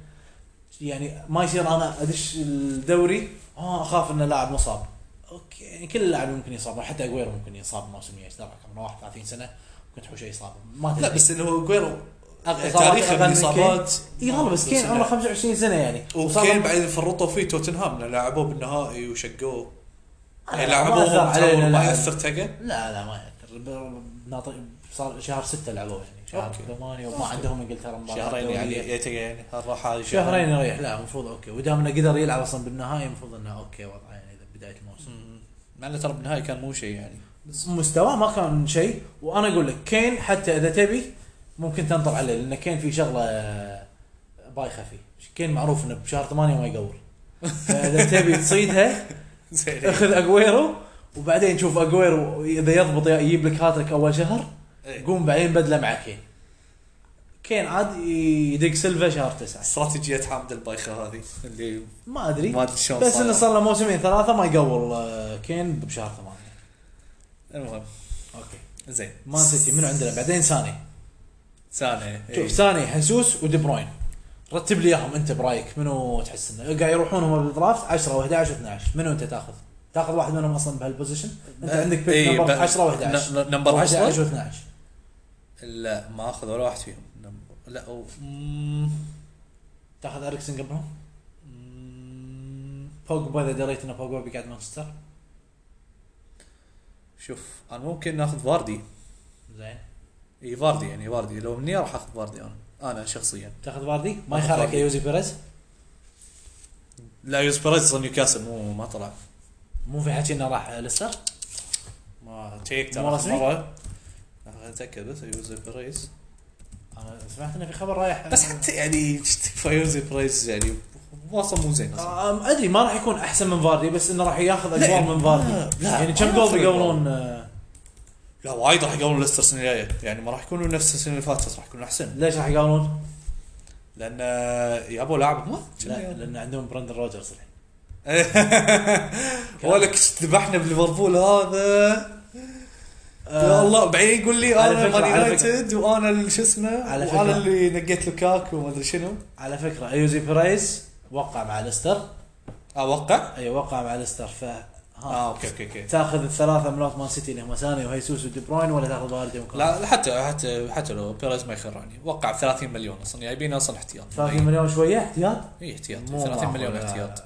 [SPEAKER 1] يعني ما يصير انا ادش الدوري اه اخاف ان لاعب مصاب اوكي يعني كل لاعب ممكن يصاب حتى اجويرو ممكن يصاب الموسم الجاي ايش دراك عمره 31 سنه ممكن تحوش اي اصابه ما
[SPEAKER 2] لا بس انه هو اجويرو
[SPEAKER 1] إصابات
[SPEAKER 2] تاريخه
[SPEAKER 1] أقل
[SPEAKER 2] من
[SPEAKER 1] من
[SPEAKER 2] اصابات
[SPEAKER 1] اي غلط بس كين عمره 25 سنه يعني
[SPEAKER 2] وكين بعدين فرطوا فيه توتنهام لأن لاعبوه بالنهائي وشقوه يعني
[SPEAKER 1] ما أثر علينا
[SPEAKER 2] لعبوه ما
[SPEAKER 1] لاعب.
[SPEAKER 2] ياثر تقى
[SPEAKER 1] لا لا ما يأثر ب- ناطق- صار شهر 6 لعبوه يعني شهر
[SPEAKER 2] أوكي.
[SPEAKER 1] 8 وما عندهم انجلترا مباراة
[SPEAKER 2] شهرين
[SPEAKER 1] دولية.
[SPEAKER 2] يعني يعني تقى يعني الراحه هذه
[SPEAKER 1] شهرين يريح لا المفروض اوكي ودام انه قدر يلعب اصلا بالنهائي المفروض انه اوكي وضعه يعني إذا بدايه الموسم
[SPEAKER 2] مم. مع انه ترى بالنهايه كان مو شيء يعني
[SPEAKER 1] مستواه ما كان شيء وانا اقول لك كين حتى اذا تبي ممكن تنطر عليه لان كين في شغله آه، بايخه فيه كين معروف انه بشهر ثمانية ما يقور فاذا تبي تصيدها
[SPEAKER 2] زين
[SPEAKER 1] اخذ اجويرو وبعدين شوف اجويرو اذا يضبط يجيب لك هاتريك اول شهر
[SPEAKER 2] إيه.
[SPEAKER 1] قوم بعدين بدله مع كين كين عاد يدق سيلفا شهر تسعة
[SPEAKER 2] استراتيجيه حامد البايخه هذه اللي
[SPEAKER 1] ما ادري
[SPEAKER 2] ما ادري شلون
[SPEAKER 1] بس
[SPEAKER 2] صايرة.
[SPEAKER 1] انه صار له موسمين ثلاثه ما يقول آه، كين بشهر ثمانيه
[SPEAKER 2] المهم
[SPEAKER 1] اوكي
[SPEAKER 2] زين
[SPEAKER 1] مان سيتي منو عندنا بعدين ساني إيه.
[SPEAKER 2] سانه
[SPEAKER 1] شوف ساني حسوس ودي بروين رتب لي اياهم انت برايك منو تحس انه قاعد يروحون هم بالدرافت 10 و11 و12 منو انت تاخذ؟ تاخذ واحد منهم اصلا بهالبوزيشن انت عندك بيك
[SPEAKER 2] إيه،
[SPEAKER 1] نمبر
[SPEAKER 2] ب-
[SPEAKER 1] 10 و11
[SPEAKER 2] ن- ن- نمبر 10
[SPEAKER 1] و12
[SPEAKER 2] لا ما اخذ ولا واحد فيهم نمبر- لا أو- مم.
[SPEAKER 1] تاخذ اريكسن قبلهم؟
[SPEAKER 2] مم.
[SPEAKER 1] بوجبا اذا دريت انه بوجبا بيقعد مانشستر
[SPEAKER 2] شوف انا ممكن ناخذ فاردي
[SPEAKER 1] زين
[SPEAKER 2] اي فاردي يعني فاردي لو مني راح اخذ فاردي انا انا شخصيا
[SPEAKER 1] تاخذ فاردي ما
[SPEAKER 2] آخذ
[SPEAKER 1] يخالك
[SPEAKER 2] فاردي.
[SPEAKER 1] يوزي بيريز
[SPEAKER 2] لا يوز بيريز صار نيوكاسل مو ما طلع
[SPEAKER 1] مو في حكي انه راح ليستر
[SPEAKER 2] ما تشيك
[SPEAKER 1] مو
[SPEAKER 2] ترى آخر
[SPEAKER 1] رسمي؟
[SPEAKER 2] مره أنا اتاكد بس يوز بيريز
[SPEAKER 1] انا سمعت انه في خبر رايح
[SPEAKER 2] بس حتى يعني يوز بيريز يعني واصل مو زين اصلا
[SPEAKER 1] آه، ادري ما راح يكون احسن من فاردي بس انه راح ياخذ
[SPEAKER 2] لا،
[SPEAKER 1] اجوال من فاردي
[SPEAKER 2] لا، لا،
[SPEAKER 1] يعني كم
[SPEAKER 2] ما
[SPEAKER 1] جول
[SPEAKER 2] ياخذ
[SPEAKER 1] بيقولون آه،
[SPEAKER 2] لا وايد راح يقابلون ليستر السنه الجايه يعني ما راح يكونوا نفس السنه اللي فاتت راح يكونوا احسن
[SPEAKER 1] ليش راح يقولون؟
[SPEAKER 2] لان آه، يابوا لاعب ما يعني.
[SPEAKER 1] لا لان عندهم براندن روجرز الحين
[SPEAKER 2] ولك ذبحنا بليفربول هذا يا
[SPEAKER 1] آه،
[SPEAKER 2] الله بعدين يقول لي
[SPEAKER 1] على
[SPEAKER 2] انا
[SPEAKER 1] فكرة-
[SPEAKER 2] مان
[SPEAKER 1] على فكرة.
[SPEAKER 2] يونايتد وانا ال- شو اسمه
[SPEAKER 1] على
[SPEAKER 2] وانا
[SPEAKER 1] فكرة.
[SPEAKER 2] اللي نقيت لوكاكو وما ادري شنو
[SPEAKER 1] على فكره ايوزي بريز وقع مع ليستر
[SPEAKER 2] اوقع
[SPEAKER 1] اي وقع مع ليستر ف
[SPEAKER 2] اه
[SPEAKER 1] ها
[SPEAKER 2] اوكي اوكي اوكي
[SPEAKER 1] تاخذ الثلاثه ملوت مان سيتي اللي هم ساني وهيسوس ودي بروين ولا تاخذ فاردي وكان
[SPEAKER 2] لا لا، حتى حتى حتى لو بيريز ما يخرعني وقع 30 مليون اصلا جايبين اصلا احتياط
[SPEAKER 1] 30 مليون شويه احتياط
[SPEAKER 2] اي احتياط
[SPEAKER 1] مو
[SPEAKER 2] 30
[SPEAKER 1] معقول،
[SPEAKER 2] مليون
[SPEAKER 1] لا، لا،
[SPEAKER 2] احتياط
[SPEAKER 1] لا،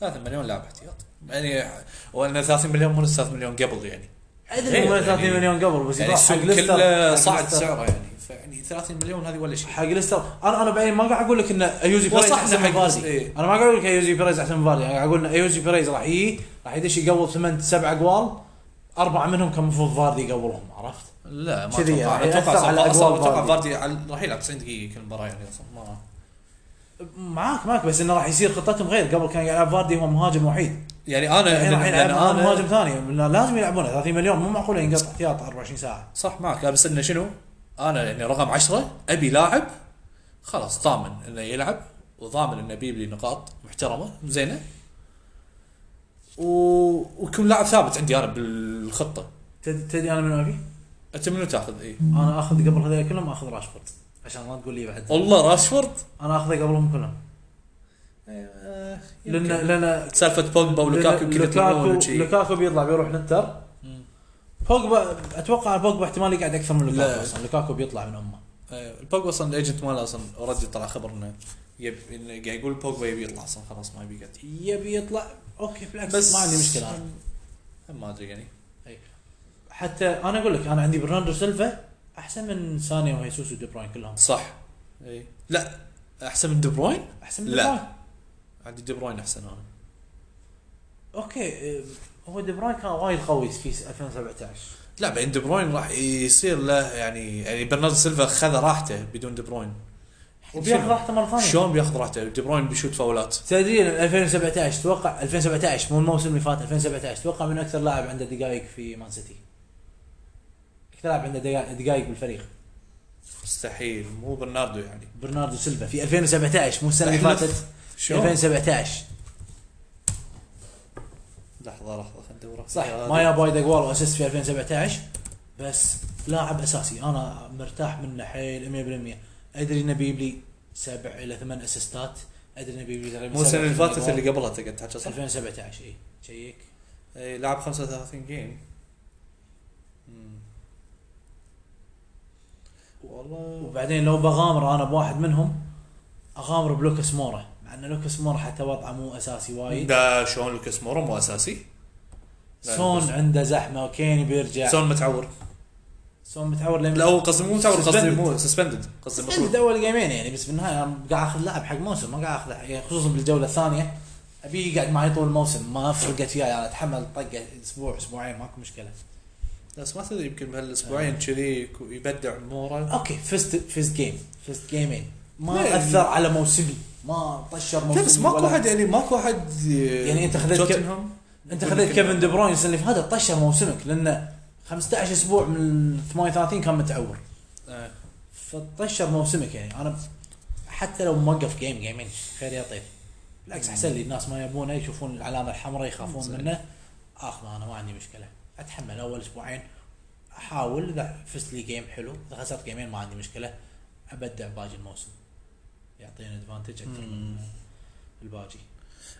[SPEAKER 1] لا.
[SPEAKER 2] 30 مليون لاعب احتياط يعني وان 30 مليون مو نفس 30 مليون قبل يعني
[SPEAKER 1] ادري
[SPEAKER 2] غير
[SPEAKER 1] مو 30
[SPEAKER 2] يعني-
[SPEAKER 1] مليون قبل بس
[SPEAKER 2] يعني
[SPEAKER 1] يروح حق
[SPEAKER 2] السوق
[SPEAKER 1] ليستر
[SPEAKER 2] كله
[SPEAKER 1] حق
[SPEAKER 2] صعد
[SPEAKER 1] ليستر.
[SPEAKER 2] سعره يعني فيعني 30 مليون هذه ولا شيء
[SPEAKER 1] حق ليستر انا انا بعدين ما قاعد اقول لك ان ايوزي
[SPEAKER 2] والله
[SPEAKER 1] بيريز
[SPEAKER 2] صح
[SPEAKER 1] احسن
[SPEAKER 2] إنه
[SPEAKER 1] من
[SPEAKER 2] حق-
[SPEAKER 1] فاردي
[SPEAKER 2] إيه.
[SPEAKER 1] انا ما قاعد اقول لك ايوزي بيريز احسن من يعني فاردي انا قاعد اقول ان ايوزي بيريز راح يجي راح يدش يقول ثمان سبع اقوال اربعه منهم كان المفروض فاردي يقولهم عرفت؟
[SPEAKER 2] لا ما
[SPEAKER 1] كذي
[SPEAKER 2] اتوقع
[SPEAKER 1] يعني
[SPEAKER 2] أنا اتوقع
[SPEAKER 1] يأثر على
[SPEAKER 2] أصلاً-
[SPEAKER 1] أجوال
[SPEAKER 2] أصلاً اتوقع
[SPEAKER 1] فاردي.
[SPEAKER 2] فاردي على- راح يلعب 90 دقيقه كل مباراه يعني اصلا ما
[SPEAKER 1] معاك معاك بس انه راح يصير خطتهم غير قبل كان يلعب فاردي هو مهاجم وحيد
[SPEAKER 2] يعني انا
[SPEAKER 1] الحين راح
[SPEAKER 2] لأن
[SPEAKER 1] يلعب
[SPEAKER 2] انا
[SPEAKER 1] مهاجم ثاني لأنه لازم يلعبونه 30 مليون مو معقول ينقطع احتياط 24 ساعه
[SPEAKER 2] صح معك لا، بس انه شنو؟ انا يعني رقم عشرة ابي لاعب خلاص ضامن انه يلعب وضامن انه بيجيب لي نقاط محترمه زينه و... ويكون لاعب ثابت عندي انا بالخطه
[SPEAKER 1] تد- تدري انا من ابي؟
[SPEAKER 2] انت منو تاخذ إيه. اي؟
[SPEAKER 1] انا اخذ قبل هذول كلهم اخذ راشفورد عشان ما تقول لي بعد
[SPEAKER 2] والله راشفورد
[SPEAKER 1] انا اخذه قبلهم كلهم
[SPEAKER 2] آه،
[SPEAKER 1] لان
[SPEAKER 2] يمكن.
[SPEAKER 1] لان
[SPEAKER 2] سالفه بوجبا ولوكاكو يمكن يتفقون
[SPEAKER 1] لوكاكو
[SPEAKER 2] وشي.
[SPEAKER 1] لوكاكو بيطلع بيروح الانتر بوجبا اتوقع بوجبا احتمال يقعد اكثر من لوكاكو
[SPEAKER 2] لا.
[SPEAKER 1] اصلا لوكاكو بيطلع من امه
[SPEAKER 2] آه، البوجبا اصلا الايجنت ماله اصلا اوريدي طلع خبر انه يب إنه قاعد يقول بوجبا يبي يطلع اصلا خلاص ما يبي يقعد
[SPEAKER 1] يبي يطلع اوكي بالعكس
[SPEAKER 2] بس
[SPEAKER 1] ما عندي مشكله أنا.
[SPEAKER 2] ما ادري يعني
[SPEAKER 1] حتى انا اقول لك انا عندي برناردو سيلفا احسن من سانيا وهيسوس ودي بروين كلهم
[SPEAKER 2] صح اي لا احسن من دي بروين
[SPEAKER 1] احسن من
[SPEAKER 2] لا.
[SPEAKER 1] دي بروين.
[SPEAKER 2] عندي دي بروين احسن انا
[SPEAKER 1] اوكي آه، هو دي بروين كان وايد قوي في 2017
[SPEAKER 2] لا بعدين دي بروين راح يصير له يعني يعني برناردو سيلفا خذ راحته بدون دي بروين
[SPEAKER 1] وبياخذ راحته مره ثانيه
[SPEAKER 2] شلون بياخذ راحته دي بروين بيشوت فاولات
[SPEAKER 1] تدري 2017 توقع 2017 مو الموسم اللي فات 2017 توقع من اكثر لاعب عنده دقائق في مان سيتي اكثر لاعب عنده دقائق- دقائق بالفريق
[SPEAKER 2] مستحيل مو برناردو يعني
[SPEAKER 1] برناردو سيلفا في 2017 مو السنه اللي
[SPEAKER 2] احنا-
[SPEAKER 1] فاتت
[SPEAKER 2] شلون
[SPEAKER 1] 2017
[SPEAKER 2] لحظه لحظه خلينا ندور
[SPEAKER 1] صح ما جاب وايد اقوال واسس في 2017 بس لاعب اساسي انا مرتاح منه حيل 100% ادري انه بيجيب لي سبع الى ثمان اسيستات ادري انه بيجيب لي تقريبا
[SPEAKER 2] مو السنه
[SPEAKER 1] سبع
[SPEAKER 2] اللي
[SPEAKER 1] ثمان
[SPEAKER 2] فاتت
[SPEAKER 1] أجوال.
[SPEAKER 2] اللي قبلها تقعد تحكي صح؟
[SPEAKER 1] 2017 اي إيه. شيك
[SPEAKER 2] اي لعب 35 جيم والله
[SPEAKER 1] وبعدين لو بغامر انا بواحد منهم اغامر بلوكاس مورا مع ان لوكاس مورا حتى وضعه مو اساسي وايد
[SPEAKER 2] ده شلون لوكاس مورو مو اساسي لا،
[SPEAKER 1] سون
[SPEAKER 2] لوكاس.
[SPEAKER 1] عنده زحمه وكيني بيرجع سون,
[SPEAKER 2] سون متعور
[SPEAKER 1] متعور لين
[SPEAKER 2] لا هو قصدي مو متعور قصدي
[SPEAKER 1] Suspended.
[SPEAKER 2] مو سسبندد قصدي
[SPEAKER 1] عندي
[SPEAKER 2] مطرود
[SPEAKER 1] اول جيمين يعني بس بالنهايه انا قاعد اخذ لاعب حق موسم ما قاعد اخذ يعني خصوصا بالجوله الثانيه ابي يقعد معي طول الموسم ما فرقت وياي انا اتحمل طقه اسبوع اسبوعين ماكو مشكله
[SPEAKER 2] بس ما تدري يمكن بهالاسبوعين كذي يكو- يبدع مورا
[SPEAKER 1] اوكي فزت فزت جيم فزت جيمين ما
[SPEAKER 2] لا،
[SPEAKER 1] اثر على موسمي ما طشر
[SPEAKER 2] إيه. لا
[SPEAKER 1] موسمي
[SPEAKER 2] بس ماكو
[SPEAKER 1] ولا-
[SPEAKER 2] احد يعني ماكو احد
[SPEAKER 1] يعني أنت خذيت كيف-
[SPEAKER 2] توتنهام
[SPEAKER 1] انت خذيت كيفن دي بروين السنه اللي فاتت طشر موسمك لانه 15 اسبوع من 38 كان متعور
[SPEAKER 2] آه.
[SPEAKER 1] فطشر موسمك يعني انا حتى لو موقف جيم جيمين خير يا طيب بالعكس احسن لي الناس ما يبونه يشوفون العلامه الحمراء يخافون
[SPEAKER 2] زين.
[SPEAKER 1] منه اخذه انا ما عندي مشكله اتحمل اول اسبوعين احاول اذا فزت لي جيم حلو اذا خسرت جيمين ما عندي مشكله ابدع باقي الموسم يعطيني ادفانتج اكثر من الباقي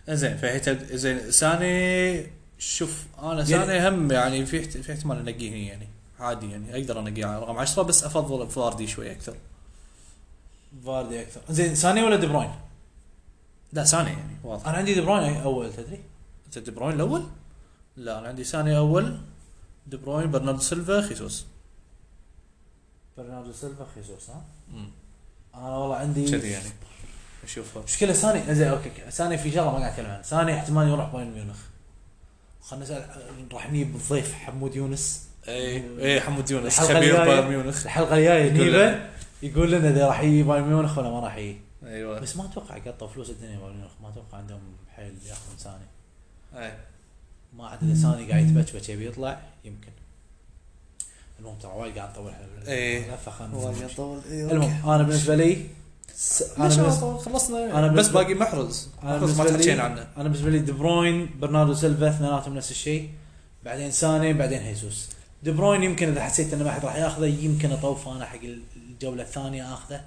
[SPEAKER 2] زين في حتة- زين ساني شوف انا ساني هم يعني في احت- في احتمال انقيه هني يعني عادي يعني اقدر انقيه رقم 10 بس افضل فاردي شوي اكثر
[SPEAKER 1] فاردي اكثر زين ساني ولا دي بروين؟
[SPEAKER 2] لا ساني يعني واضح
[SPEAKER 1] انا عندي دي بروين اول تدري
[SPEAKER 2] انت دي بروين الاول؟ لا انا عندي ساني اول دي بروين برناردو سيلفا خيسوس
[SPEAKER 1] برناردو سيلفا خيسوس ها
[SPEAKER 2] مم.
[SPEAKER 1] انا والله عندي
[SPEAKER 2] كذي يعني اشوفها
[SPEAKER 1] مشكله ساني زين اوكي أوكي. ساني في شغله ما قاعد اتكلم عنها ساني احتمال يروح بايرن ميونخ خلنا نسال راح نجيب الضيف حمود يونس
[SPEAKER 2] اي اي إيه، حمود يونس
[SPEAKER 1] الحلقة
[SPEAKER 2] خبير
[SPEAKER 1] الجاية.
[SPEAKER 2] بايرن ميونخ
[SPEAKER 1] الحلقه الجايه
[SPEAKER 2] يقول
[SPEAKER 1] نجيبه يقول لنا اذا راح يجي بايرن ميونخ ولا ما راح يجي
[SPEAKER 2] ايوه
[SPEAKER 1] بس ما اتوقع قطوا فلوس الدنيا بايرن ميونخ ما اتوقع عندهم حيل ياخذون ساني
[SPEAKER 2] اي
[SPEAKER 1] ما عاد اذا ساني قاعد يتبچبچ يبي يطلع يمكن المهم ترى وايد قاعد نطول
[SPEAKER 2] إيه.
[SPEAKER 1] فخلنا
[SPEAKER 2] طول
[SPEAKER 1] المهم انا بالنسبه لي انا بالنسبه
[SPEAKER 2] خلصنا
[SPEAKER 1] أنا
[SPEAKER 2] انا بس
[SPEAKER 1] بالنسبة-
[SPEAKER 2] باقي محرز
[SPEAKER 1] أنا
[SPEAKER 2] محرز ما
[SPEAKER 1] بالنسبة لي-
[SPEAKER 2] تحكينا عنه
[SPEAKER 1] انا بالنسبه لي دي بروين برناردو سيلفا اثنيناتهم نفس الشيء بعدين ساني بعدين هيسوس دي بروين يمكن اذا حسيت انه ما حد راح ياخذه يمكن اطوف انا حق الجوله الثانيه اخذه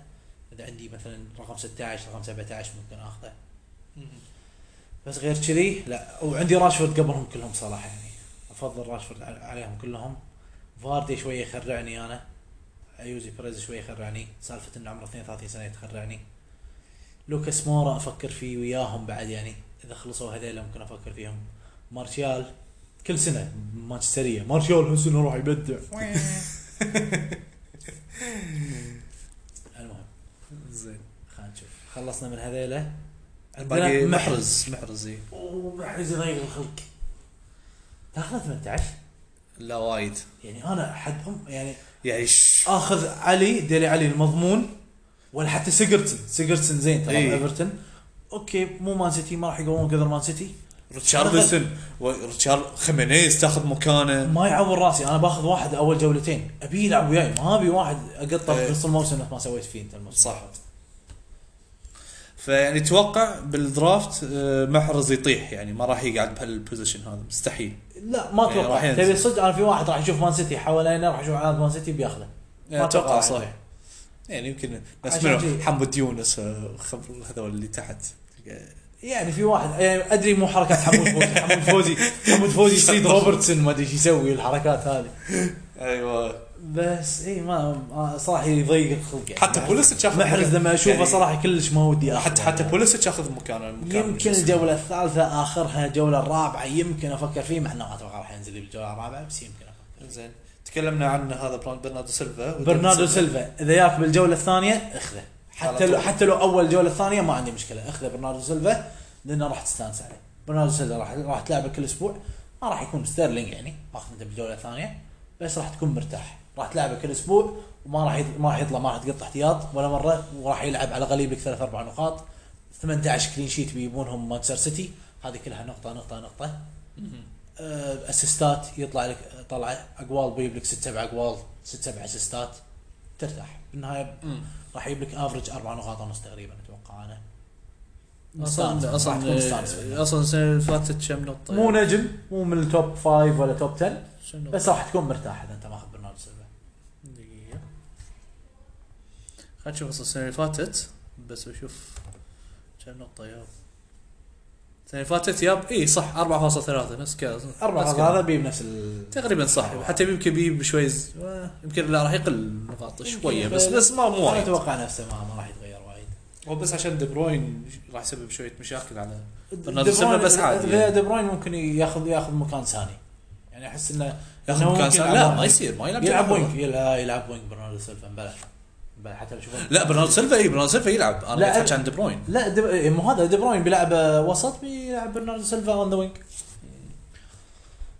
[SPEAKER 1] اذا عندي مثلا رقم 16 رقم 17 ممكن اخذه بس غير كذي لا وعندي راشفورد قبلهم كلهم صراحه يعني افضل راشفورد على- عليهم كلهم فاردي شويه يخرعني انا ايوزي بريز شويه يخرعني سالفه ان عمره 32 سنه تخرعني لوكاس مورا افكر فيه وياهم بعد يعني اذا خلصوا هذيلا ممكن افكر فيهم مارشال كل سنه مانشستريه مارشال هالسنه راح يبدع المهم
[SPEAKER 2] زين
[SPEAKER 1] خلينا نشوف خلصنا من هذيلا
[SPEAKER 2] باقي
[SPEAKER 1] عندنا محرز
[SPEAKER 2] محرز محرز اي
[SPEAKER 1] اوه محرز يضيق الخلق تاخذ 18
[SPEAKER 2] لا وايد
[SPEAKER 1] يعني انا حد ام يعني
[SPEAKER 2] يعني ش...
[SPEAKER 1] اخذ علي ديلي علي المضمون ولا حتى سيجرتسن سيجرتسن زين ترى
[SPEAKER 2] إيه.
[SPEAKER 1] من ايفرتون اوكي مو مان سيتي ما راح يقومون قدر مان سيتي
[SPEAKER 2] ريتشاردسون وريتشار خيمينيز تاخذ مكانه
[SPEAKER 1] ما يعور راسي انا باخذ واحد اول جولتين ابي يلعب وياي ما ابي واحد اقطه في
[SPEAKER 2] إيه.
[SPEAKER 1] نص الموسم مثل ما سويت فيه انت الموسم
[SPEAKER 2] صح. فيعني اتوقع بالدرافت آه، محرز يطيح يعني ما راح يقعد بهالبوزيشن هذا مستحيل
[SPEAKER 1] لا ما
[SPEAKER 2] إيه، راح
[SPEAKER 1] اتوقع
[SPEAKER 2] ينزل.
[SPEAKER 1] تبي صدق انا في واحد راح يشوف مان سيتي حوالينا راح يشوف علامه مان سيتي بياخذه ما
[SPEAKER 2] اتوقع
[SPEAKER 1] أتوقع.
[SPEAKER 2] صح يعني يمكن ناس
[SPEAKER 1] عشان
[SPEAKER 2] منهم
[SPEAKER 1] جي.
[SPEAKER 2] حمد يونس آه، خبر هذول اللي تحت
[SPEAKER 1] يعني في واحد يعني ادري مو حركات حمود فوزي حمود فوزي حمود فوزي يصيد روبرتسون ما ادري ايش يسوي الحركات هذه أيوة.
[SPEAKER 2] ايوه
[SPEAKER 1] بس اي ما ما- صراحه يضيق الخلق يعني
[SPEAKER 2] حتى بوليسيتش ياخذ
[SPEAKER 1] محرز لما اشوفه
[SPEAKER 2] يعني-
[SPEAKER 1] صراحه كلش ما ودي آخذه.
[SPEAKER 2] حتى حتى بوليسيتش ياخذ مكانه مكان
[SPEAKER 1] يمكن الجوله الثالثه اخرها الجوله الرابعه يمكن افكر فيه مع انه ما اتوقع راح ينزل لي بالجوله الرابعه بس يمكن افكر
[SPEAKER 2] زين تكلمنا عن هذا بران- برناردو سيلفا
[SPEAKER 1] برناردو سيلفا اذا جاك بالجوله الثانيه اخذه حتى
[SPEAKER 2] إيه. على
[SPEAKER 1] لو
[SPEAKER 2] طول.
[SPEAKER 1] حتى لو اول جوله ثانيه ما عندي مشكله اخذه برناردو سيلفا لانه راح تستانس عليه برناردو سيلفا راح راح تلعبه كل اسبوع ما راح يكون ستيرلينج يعني اخذ انت بالجوله الثانيه بس راح تكون مرتاح راح تلعبه كل اسبوع وما راح يط- ما راح يطلع ما راح تقط احتياط ولا مره وراح يلعب على غليبك ثلاث اربع نقاط 18 كلين شيت بيجيبونهم مانشستر سيتي هذه كلها نقطه نقطه نقطه آه، اسيستات يطلع لك طلع اقوال بيجيب لك ست سبع اقوال ست سبع اسيستات ترتاح بالنهايه راح يجيب لك افرج اربع نقاط ونص تقريبا اتوقع انا مستانس،
[SPEAKER 3] اصلا
[SPEAKER 1] راح تكون مستانس
[SPEAKER 3] اصلا
[SPEAKER 1] منه.
[SPEAKER 3] اصلا السنه اللي فاتت كم نقطه
[SPEAKER 1] مو نجم مو من التوب فايف ولا توب 10
[SPEAKER 3] شنو؟
[SPEAKER 1] بس راح تكون مرتاح اذا انت ماخذ برناردو سيلفا
[SPEAKER 3] دقيقة خلنا نشوف اصلا السنة اللي فاتت بس بشوف كم نقطة ياب السنة اللي فاتت ياب اي صح 4.3 نفس كذا
[SPEAKER 1] اربع
[SPEAKER 3] نفس
[SPEAKER 1] نقاط
[SPEAKER 3] كذا.
[SPEAKER 1] هذا بيجيب نفس ال
[SPEAKER 3] تقريبا صح حتى يمكن بيجيب شوي ز- آه، يمكن لا راح يقل نقاط شوية
[SPEAKER 1] يمكن
[SPEAKER 3] بس بس ما مو
[SPEAKER 1] انا
[SPEAKER 3] وايد
[SPEAKER 1] اتوقع نفسه ما, ما راح يتغير وايد
[SPEAKER 2] هو بس عشان دي بروين راح يسبب شويه مشاكل على برناردو
[SPEAKER 1] دي
[SPEAKER 2] سيلفا
[SPEAKER 1] بروين-
[SPEAKER 2] بس عادي
[SPEAKER 1] إذا
[SPEAKER 2] يعني.
[SPEAKER 1] دي بروين ممكن ياخذ ياخذ مكان ثاني يعني احس انه إنه
[SPEAKER 2] ياخذ
[SPEAKER 1] ممكن
[SPEAKER 2] مكان سا-
[SPEAKER 1] يلعب
[SPEAKER 2] لا
[SPEAKER 1] واحد.
[SPEAKER 2] ما يصير ما يلعب
[SPEAKER 1] يلعب
[SPEAKER 2] جناح.
[SPEAKER 1] وينج يلعب, يلعب وينج برناردو سيلفا مبلش مبلش حتى لو شوفه
[SPEAKER 2] لا برناردو سيلفا
[SPEAKER 3] إيه،
[SPEAKER 2] اي برناردو سيلفا يلعب
[SPEAKER 1] لا،
[SPEAKER 2] انا قاعد احكي عن دي بروين
[SPEAKER 1] لا دب... إيه، مو هذا دي بروين بيلعب آه، وسط بيلعب برناردو سيلفا اون ذا وينج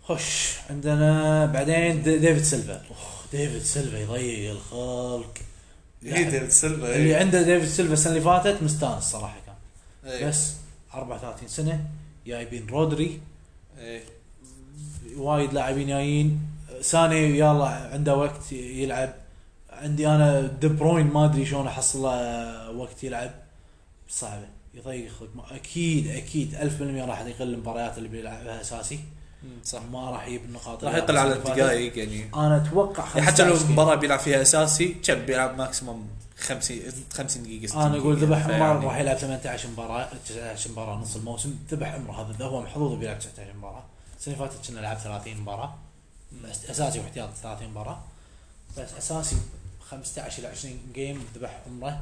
[SPEAKER 1] خش عندنا بعدين دي- ديفيد سيلفا اوه ديفيد سيلفا يضيق الخلق
[SPEAKER 2] إيه،
[SPEAKER 1] لا.
[SPEAKER 2] سيلفا إيه.
[SPEAKER 1] اللي عنده ديفيد سيلفا السنه اللي فاتت مستانس صراحه كان
[SPEAKER 2] إيه.
[SPEAKER 1] بس 34 سنه جايبين رودري
[SPEAKER 2] إيه.
[SPEAKER 1] وايد لاعبين جايين ساني يلا عنده وقت يلعب عندي انا دي بروين ما ادري شلون احصل له وقت يلعب صعبه يضيق خلق ما- اكيد اكيد 100% راح يقل المباريات اللي بيلعبها اساسي
[SPEAKER 2] صح
[SPEAKER 1] ما راح يجيب النقاط
[SPEAKER 2] راح
[SPEAKER 1] اللي
[SPEAKER 2] يقل على
[SPEAKER 1] فاتت.
[SPEAKER 2] الدقائق يعني
[SPEAKER 1] انا اتوقع
[SPEAKER 2] يعني حتى لو
[SPEAKER 1] 15 دقيقة.
[SPEAKER 2] مباراه بيلعب فيها اساسي كم بيلعب ماكسيموم 50 50 دقيقه 60
[SPEAKER 1] انا اقول
[SPEAKER 2] دقيقة.
[SPEAKER 1] ذبح عمر
[SPEAKER 2] فيعني
[SPEAKER 1] راح يلعب 18 مباراه 19 مباراه نص الموسم ذبح عمره هذا هو محظوظ بيلعب 19 مباراه السنه اللي فاتت كنا لعب 30 مباراه بس اساسي واحتياط 30 مباراه بس اساسي 15 الى 20 جيم ذبح عمره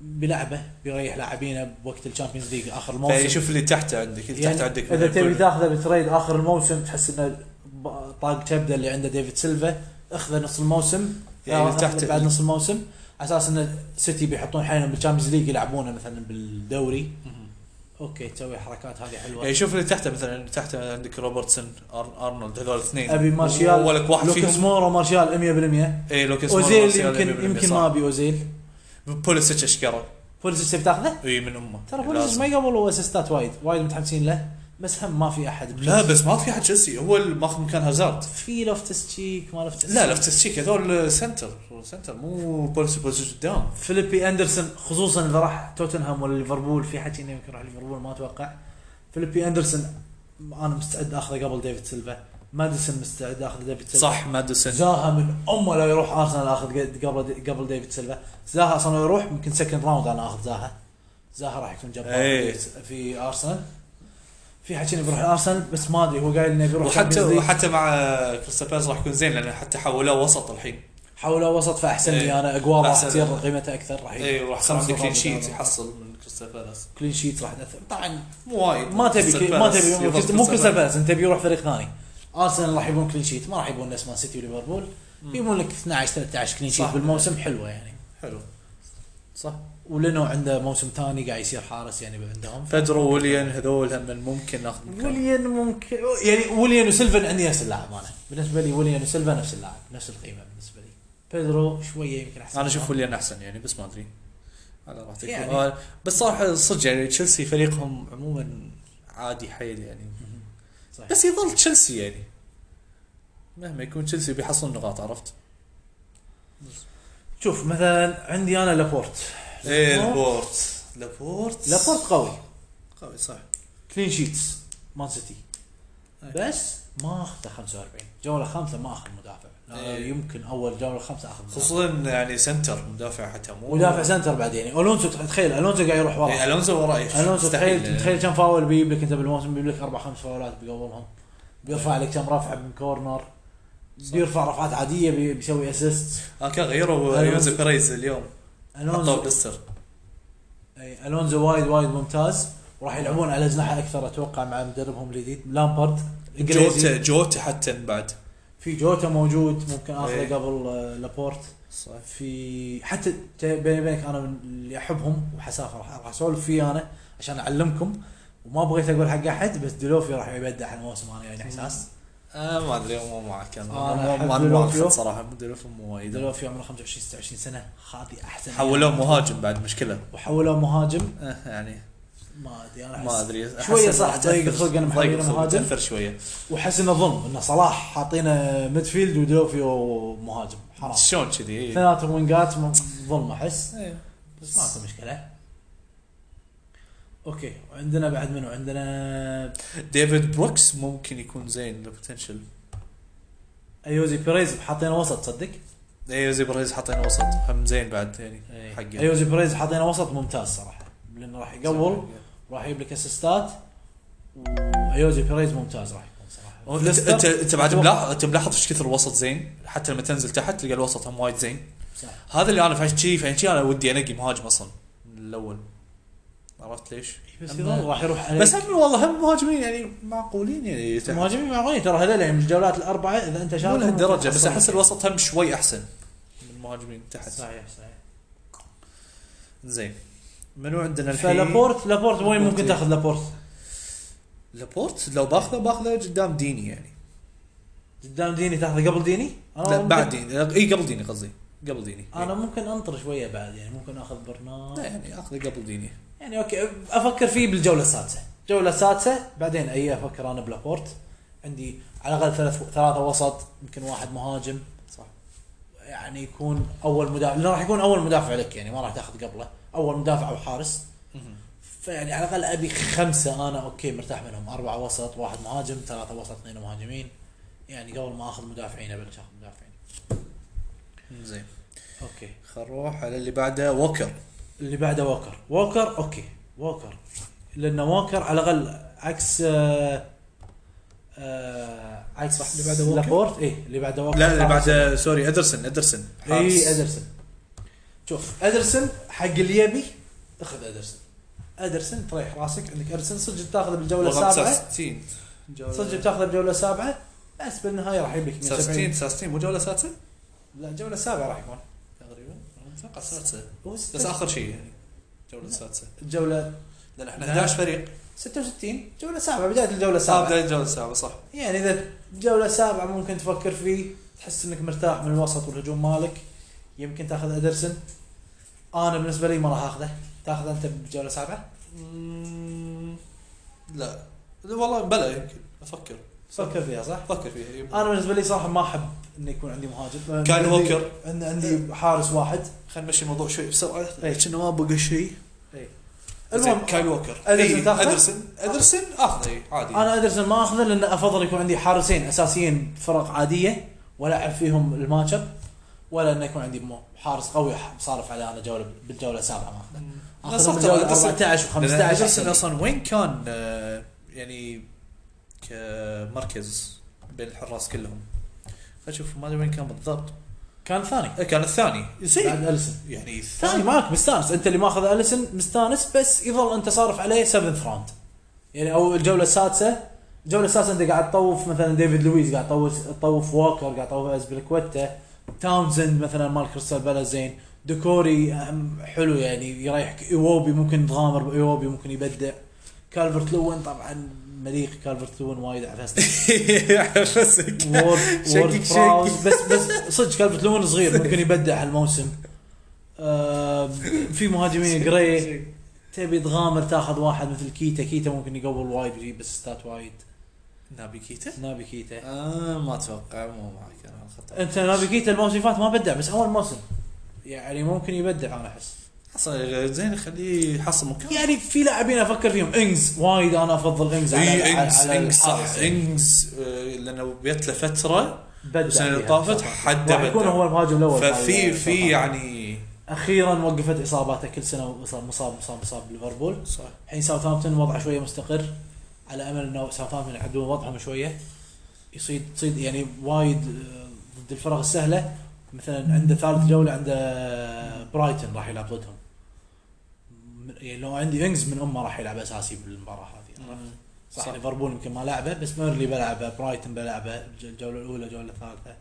[SPEAKER 1] بلعبه بيريح لاعبينه بوقت الشامبيونز ليج اخر الموسم
[SPEAKER 2] فيعني شوف اللي تحت عندك اللي تحت عندك
[SPEAKER 1] اذا
[SPEAKER 2] من
[SPEAKER 1] يعني تبي
[SPEAKER 2] الكل.
[SPEAKER 1] تاخذه بتريد اخر الموسم تحس انه ب- طاق كبده اللي عنده ديفيد سيلفا اخذه نص الموسم
[SPEAKER 2] يعني
[SPEAKER 1] آه،
[SPEAKER 2] تحت-
[SPEAKER 1] بعد نص الموسم على اساس ان سيتي بيحطون حالهم بالشامبيونز ليج يلعبونه مثلا بالدوري اوكي تسوي حركات هذه حلوه
[SPEAKER 2] يعني شوف اللي تحته مثلا تحته عندك روبرتسون أر- ارنولد هذول الاثنين
[SPEAKER 1] ابي مارشيال
[SPEAKER 2] ولك واحد
[SPEAKER 1] لوكاس
[SPEAKER 2] فيهم
[SPEAKER 1] مورا مارشيال
[SPEAKER 2] اي لوكاس
[SPEAKER 1] 100%
[SPEAKER 2] مورا،
[SPEAKER 1] اوزيل
[SPEAKER 2] مارسيال
[SPEAKER 1] يمكن
[SPEAKER 2] 100%
[SPEAKER 1] يمكن
[SPEAKER 2] صح.
[SPEAKER 1] ما ابي اوزيل
[SPEAKER 2] بوليسيتش اشكره
[SPEAKER 1] بوليسيتش بتاخذه
[SPEAKER 2] اي من امه
[SPEAKER 1] ترى بوليسيتش ما يقبلوا اسيستات وايد وايد متحمسين له بس هم ما في احد
[SPEAKER 2] لا بس ما في احد تشيلسي هو اللي ماخذ مكان هازارد
[SPEAKER 1] في لوفتس تشيك ما لوفتس
[SPEAKER 2] لا لا تشيك هذول سنتر سنتر مو بوليسيتش بوليسيتش قدام
[SPEAKER 1] فيليبي اندرسون خصوصا اذا راح توتنهام ولا ليفربول في حكي انه يمكن راح ليفربول ما اتوقع فيليبي اندرسون انا مستعد اخذه قبل ديفيد سيلفا ماديسون مستعد اخذ ديفيد سيلفا
[SPEAKER 2] صح ماديسون
[SPEAKER 1] زاها من امه لو يروح ارسنال اخذ قد- قبل قبل ديفيد سيلفا زاها اصلا لو يروح يمكن سكند راوند انا اخذ زاها زاها راح يكون جبار
[SPEAKER 2] إيه.
[SPEAKER 1] في ارسنال في حكي انه بيروح ارسنال بس ما ادري هو قايل انه بيروح
[SPEAKER 2] وحتى
[SPEAKER 1] Champions League.
[SPEAKER 2] وحتى مع كريستال بالاس راح يكون زين لان حتى حولوه وسط الحين
[SPEAKER 1] حوله وسط فاحسن لي
[SPEAKER 2] إيه.
[SPEAKER 1] انا اقوال راح
[SPEAKER 2] فأحسن.
[SPEAKER 1] تصير قيمته اكثر راح
[SPEAKER 2] اي إيه، وراح يصير
[SPEAKER 1] خمس
[SPEAKER 2] عنده كلين
[SPEAKER 1] نقاط
[SPEAKER 2] شيت
[SPEAKER 1] قدام.
[SPEAKER 2] يحصل من كريستال بالاس
[SPEAKER 1] كلين شيت راح تاثر طبعا
[SPEAKER 2] مو وايد
[SPEAKER 1] ما تبي
[SPEAKER 2] كريستال
[SPEAKER 1] كي- ما
[SPEAKER 2] بالاس
[SPEAKER 1] تبي مو
[SPEAKER 2] يضرب
[SPEAKER 1] كريست- مو كريستال
[SPEAKER 2] بالاس.
[SPEAKER 1] بالاس انت تبي يروح فريق ثاني ارسنال راح يبون كلين شيت ما راح يبون نفس مان سيتي وليفربول يبون لك 12 13 كلين شيت
[SPEAKER 2] صح.
[SPEAKER 1] بالموسم حلوه يعني
[SPEAKER 2] حلو
[SPEAKER 1] صح ولينو عنده موسم ثاني قاعد يصير حارس يعني عندهم
[SPEAKER 2] بيدرو ويليان هذول هم ممكن ناخذ مكان
[SPEAKER 1] وليان ممكن يعني وليان وسيلفا عندي نفس اللاعب انا بالنسبه لي وليان وسيلفا نفس اللاعب نفس القيمه بالنسبه لي بيدرو شويه يمكن احسن
[SPEAKER 2] انا اشوف
[SPEAKER 1] منهم.
[SPEAKER 2] ويليان احسن يعني بس ما ادري على راحتك
[SPEAKER 1] يعني.
[SPEAKER 2] يعني. بس صراحه صدق يعني تشيلسي فريقهم عموما عادي حيل يعني
[SPEAKER 1] صحيح.
[SPEAKER 2] بس يظل تشيلسي يعني مهما يكون تشيلسي بيحصل نقاط عرفت؟
[SPEAKER 1] شوف مثلا عندي انا لابورت
[SPEAKER 2] ايه
[SPEAKER 1] لابورت.
[SPEAKER 2] لابورت لابورت
[SPEAKER 1] لابورت قوي
[SPEAKER 2] قوي صح
[SPEAKER 1] كلين شيتس مان سيتي
[SPEAKER 2] أي.
[SPEAKER 1] بس ما اخذته 45 جوله خامسه ما اخذ مدافع أنا
[SPEAKER 2] إيه.
[SPEAKER 1] يمكن اول جوله خمسه اخذ منها.
[SPEAKER 2] خصوصا يعني سنتر مدافع حتى مو
[SPEAKER 1] ودافع سنتر بعد يعني الونسو تخيل الونسو قاعد يروح
[SPEAKER 2] إيه،
[SPEAKER 1] ورا
[SPEAKER 2] الونسو وراه إيش؟
[SPEAKER 1] الونسو
[SPEAKER 2] مستحيل.
[SPEAKER 1] تخيل تخيل كم فاول بيجيب لك انت بالموسم بيجيب لك اربع خمس فاولات بيقومهم بيرفع لك كم رفعه من كورنر بيرفع رفعات عاديه بي- بيسوي اسيست
[SPEAKER 2] اه كان غيروا
[SPEAKER 1] الونسو-
[SPEAKER 2] يوزف بريز اليوم حطوه
[SPEAKER 1] الونزو
[SPEAKER 2] بلستر
[SPEAKER 1] أي، الونزو إيه، وايد وايد ممتاز وراح يلعبون على اجنحه اكثر اتوقع مع مدربهم الجديد لامبارد
[SPEAKER 2] جوتا
[SPEAKER 1] انجليزي
[SPEAKER 2] جوتا حتى بعد
[SPEAKER 1] في جوتا موجود ممكن
[SPEAKER 2] إيه.
[SPEAKER 1] اخذه قبل آه، لابورت
[SPEAKER 2] صح
[SPEAKER 1] في حتى ت- بيني وبينك انا من اللي احبهم وحسافه راح راح اسولف فيه انا عشان اعلمكم وما بغيت اقول حق احد بس دلوفي راح يبدع هالموسم انا يعني احساس
[SPEAKER 2] آه ما ادري مو معك انا
[SPEAKER 1] آه، أنا
[SPEAKER 2] ما-
[SPEAKER 1] أحب
[SPEAKER 2] ما ما
[SPEAKER 1] ديلوفيو.
[SPEAKER 2] اخذ صراحه ديلوفيو مو وايد
[SPEAKER 1] دلوفي عمره 25 26 سنه هذه احسن
[SPEAKER 2] حولوه مهاجم بعد مشكله
[SPEAKER 1] وحولوه مهاجم
[SPEAKER 2] آه يعني
[SPEAKER 1] ما ادري انا
[SPEAKER 2] ما
[SPEAKER 1] أحس-
[SPEAKER 2] ادري أحس
[SPEAKER 1] شويه
[SPEAKER 2] إنه
[SPEAKER 1] صح
[SPEAKER 2] راح
[SPEAKER 1] ضيق
[SPEAKER 2] تأثر-
[SPEAKER 1] الخلق انا
[SPEAKER 2] ضيق
[SPEAKER 1] محولينه
[SPEAKER 2] الخلق،
[SPEAKER 1] مهاجم
[SPEAKER 2] تاثر شويه
[SPEAKER 1] واحس انه ظلم انه صلاح حاطينه ميدفيلد ودلوفيو مهاجم حرام
[SPEAKER 2] شلون كذي إيه.
[SPEAKER 1] اثنيناتهم وينجات م- ظلم احس
[SPEAKER 2] إيه.
[SPEAKER 1] بس ما في مشكله اوكي وعندنا بعد منو عندنا
[SPEAKER 2] ديفيد بروكس ممكن يكون زين البوتنشل
[SPEAKER 1] ايوزي بيريز حاطينه وسط تصدق
[SPEAKER 2] يوزي بريز حاطينه وسط هم زين بعد يعني حقه
[SPEAKER 1] ايوزي بيريز حاطينه وسط ممتاز صراحه لانه راح يقول راح يجيب لك اسيستات وايوزي بيريز ممتاز راح يكون صراحه
[SPEAKER 2] انت انت انت بعد ملاحظ انت ملاحظ ايش كثر الوسط زين حتى لما تنزل تحت تلقى الوسط هم وايد زين
[SPEAKER 1] صح.
[SPEAKER 2] هذا اللي انا فعشان شي فعشان شي انا ودي انقي مهاجم اصلا من الاول عرفت ليش؟
[SPEAKER 1] بس
[SPEAKER 2] أما-
[SPEAKER 1] يظل راح يروح عليك
[SPEAKER 2] بس هم والله هم مهاجمين يعني معقولين يعني يتح-
[SPEAKER 1] مهاجمين معقولين ترى هذول يعني من الجولات الاربعه اذا انت
[SPEAKER 2] مو
[SPEAKER 1] شايف
[SPEAKER 2] لهالدرجه بس احس الوسط هم شوي احسن من المهاجمين تحت
[SPEAKER 1] صحيح صحيح
[SPEAKER 2] زين منو عندنا الحين؟
[SPEAKER 1] فلابورت لابورت وين ممكن
[SPEAKER 2] لابورت.
[SPEAKER 1] تاخذ لابورت؟
[SPEAKER 2] لابورت لو باخذه باخذه قدام ديني يعني
[SPEAKER 1] قدام ديني تاخذه قبل ديني؟
[SPEAKER 2] لا
[SPEAKER 1] ممكن-
[SPEAKER 2] بعد ديني اي قبل ديني قصدي قبل ديني
[SPEAKER 1] انا ممكن انطر شويه بعد يعني ممكن اخذ برنامج
[SPEAKER 2] لا يعني اخذه قبل ديني
[SPEAKER 1] يعني اوكي افكر فيه بالجوله السادسه، الجوله السادسه بعدين اي افكر انا بلابورت عندي على الاقل ثلاث ثلاثه وسط يمكن واحد مهاجم
[SPEAKER 2] صح
[SPEAKER 1] يعني يكون اول مدافع لانه راح يكون اول مدافع لك يعني ما راح تاخذ قبله اول مدافع او حارس فيعني على الاقل ابي خمسه انا اوكي مرتاح منهم اربعه وسط واحد مهاجم ثلاثه وسط اثنين مهاجمين يعني قبل ما اخذ مدافعين ابلش اخذ مدافعين
[SPEAKER 2] زين
[SPEAKER 1] اوكي
[SPEAKER 2] خل نروح على اللي بعده ووكر
[SPEAKER 1] اللي بعده ووكر ووكر اوكي ووكر لان ووكر على الاقل عكس آه آه عكس
[SPEAKER 2] صح، اللي بعده ووكر؟
[SPEAKER 1] لابورت اي اللي بعده ووكر
[SPEAKER 2] لا اللي
[SPEAKER 1] حارس.
[SPEAKER 2] بعده سوري ادرسن ادرسن
[SPEAKER 1] إيه،
[SPEAKER 2] حارس.
[SPEAKER 1] اي ادرسن شوف ادرسن حق اللي يبي اخذ ادرسن ادرسن طريح راسك عندك ادرسن صدق بتاخذه بالجوله
[SPEAKER 2] رقم
[SPEAKER 1] السابعه
[SPEAKER 2] 69 جولة-
[SPEAKER 1] صدق بتاخذه بالجوله السابعه بس بالنهايه راح يجيب لك
[SPEAKER 2] 69
[SPEAKER 1] 170
[SPEAKER 2] 69 مو جوله سادسه؟
[SPEAKER 1] لا الجوله السابعه راح يكون
[SPEAKER 2] تقريبا اتوقع سادسه
[SPEAKER 1] هو
[SPEAKER 2] بس
[SPEAKER 1] 66
[SPEAKER 2] اخر شيء يعني جوله سادسه
[SPEAKER 1] الجوله
[SPEAKER 2] لان احنا
[SPEAKER 1] لا.
[SPEAKER 2] 11 فريق
[SPEAKER 1] 66 جوله سابعه بدايه الجوله
[SPEAKER 2] صعب
[SPEAKER 1] السابعه
[SPEAKER 2] بدايه الجوله السابعه صح
[SPEAKER 1] يعني اذا جوله سابعه ممكن تفكر فيه تحس انك مرتاح من الوسط والهجوم مالك يمكن تاخذ ادرسن انا بالنسبه لي ما راح اخذه تاخذه انت بالجوله سابعه
[SPEAKER 2] مم، لا لا والله بلا يمكن افكر
[SPEAKER 1] فكر فيها صح؟
[SPEAKER 2] افكر فيها يمكن.
[SPEAKER 1] انا بالنسبه لي صراحه ما احب انه يكون عندي مهاجم
[SPEAKER 2] كايل
[SPEAKER 1] عندي-
[SPEAKER 2] ووكر.
[SPEAKER 1] عندي, عندي حارس واحد
[SPEAKER 2] خلينا نمشي الموضوع شوي بسرعه
[SPEAKER 1] إيه.
[SPEAKER 2] كأنه ما بقى شيء
[SPEAKER 1] المهم
[SPEAKER 2] المهم كايل ووكر
[SPEAKER 1] أدرسن
[SPEAKER 2] إيه،
[SPEAKER 1] تاخذه؟
[SPEAKER 2] ادرسن ادرسن اخذه إيه، عادي
[SPEAKER 1] انا ادرسن ما اخذه لان افضل يكون عندي حارسين اساسيين فرق عاديه والعب فيهم الماتش اب ولا انه يكون عندي مو- حارس قوي ح- صارف عليه انا جوله بالجوله السابعه ما اخذه
[SPEAKER 2] لا
[SPEAKER 1] اخذه
[SPEAKER 2] صح
[SPEAKER 1] بالجوله
[SPEAKER 2] ترى ادرسن
[SPEAKER 1] 14
[SPEAKER 2] لأن
[SPEAKER 1] و15
[SPEAKER 2] ادرسن اصلا وين كان آه، يعني كمركز بين الحراس كلهم خلينا نشوف ما ادري وين كان بالضبط
[SPEAKER 1] كان ثاني
[SPEAKER 2] آه، كان الثاني زين
[SPEAKER 1] بعد اليسن
[SPEAKER 2] يعني
[SPEAKER 1] ثاني معك مستانس انت اللي ماخذ اليسن مستانس بس يظل انت صارف عليه 7 راوند يعني او الجوله السادسه الجوله السادسه انت قاعد تطوف مثلا ديفيد لويز قاعد تطوف تطوف ووكر قاعد تطوف ازبلكوتا تاونزند مثلا مال كريستال بالاس زين ديكوري أم، حلو يعني يريحك ايوبي ممكن تغامر بايوبي ممكن يبدع كالفرت لوين طبعا مليق كالفرت لوين وايد عفسني
[SPEAKER 2] حفزك
[SPEAKER 1] وورد
[SPEAKER 2] شكك
[SPEAKER 1] وورد
[SPEAKER 2] شكك.
[SPEAKER 1] براوس بس بس صدق كلفت لون صغير ممكن يبدع هالموسم آه، في مهاجمين جراي تبي تغامر تاخذ واحد مثل كيتا كيتا ممكن يقول وايد ويجيب اسستات وايد
[SPEAKER 2] نابي كيتا
[SPEAKER 1] نابي كيتا
[SPEAKER 2] آه ما اتوقع مو معك انا الخطا
[SPEAKER 1] انت نابي كيتا الموسم اللي فات ما بدع بس اول موسم يعني ممكن يبدع انا احس
[SPEAKER 2] حصل زين خليه يحصل مكان
[SPEAKER 1] يعني في لاعبين افكر فيهم انجز وايد انا افضل انجز على
[SPEAKER 2] اي
[SPEAKER 1] على-
[SPEAKER 2] انجز
[SPEAKER 1] على
[SPEAKER 2] انجز صح
[SPEAKER 1] الحارس.
[SPEAKER 2] انجز آه، لانه جت له فتره
[SPEAKER 1] بدع
[SPEAKER 2] السنه اللي
[SPEAKER 1] فيها
[SPEAKER 2] طافت
[SPEAKER 1] بصراحة.
[SPEAKER 2] حد
[SPEAKER 1] راح يكون هو
[SPEAKER 2] بدا
[SPEAKER 1] المهاجم طيب، الاول
[SPEAKER 2] ففي
[SPEAKER 1] على-
[SPEAKER 2] في يعني
[SPEAKER 1] اخيرا وقفت اصاباته كل سنه مصاب مصاب مصاب, مصاب ليفربول
[SPEAKER 2] صح
[SPEAKER 1] الحين ساوثهامبتون وضعه شويه مستقر على امل انه ساوثهامبتون يعدلون وضعهم شويه يصيد تصيد يعني وايد آه، ضد الفرق السهله مثلا عنده ثالث جوله عنده برايتون راح يلعب ضدهم من- يعني لو عندي انجز من امه راح يلعب اساسي بالمباراه هذه عرفت؟ صح,
[SPEAKER 2] صح.
[SPEAKER 1] ليفربول يمكن ما لعبه بس ميرلي بلعبه برايتون بلعبه الج- الجوله الاولى الجوله الثالثه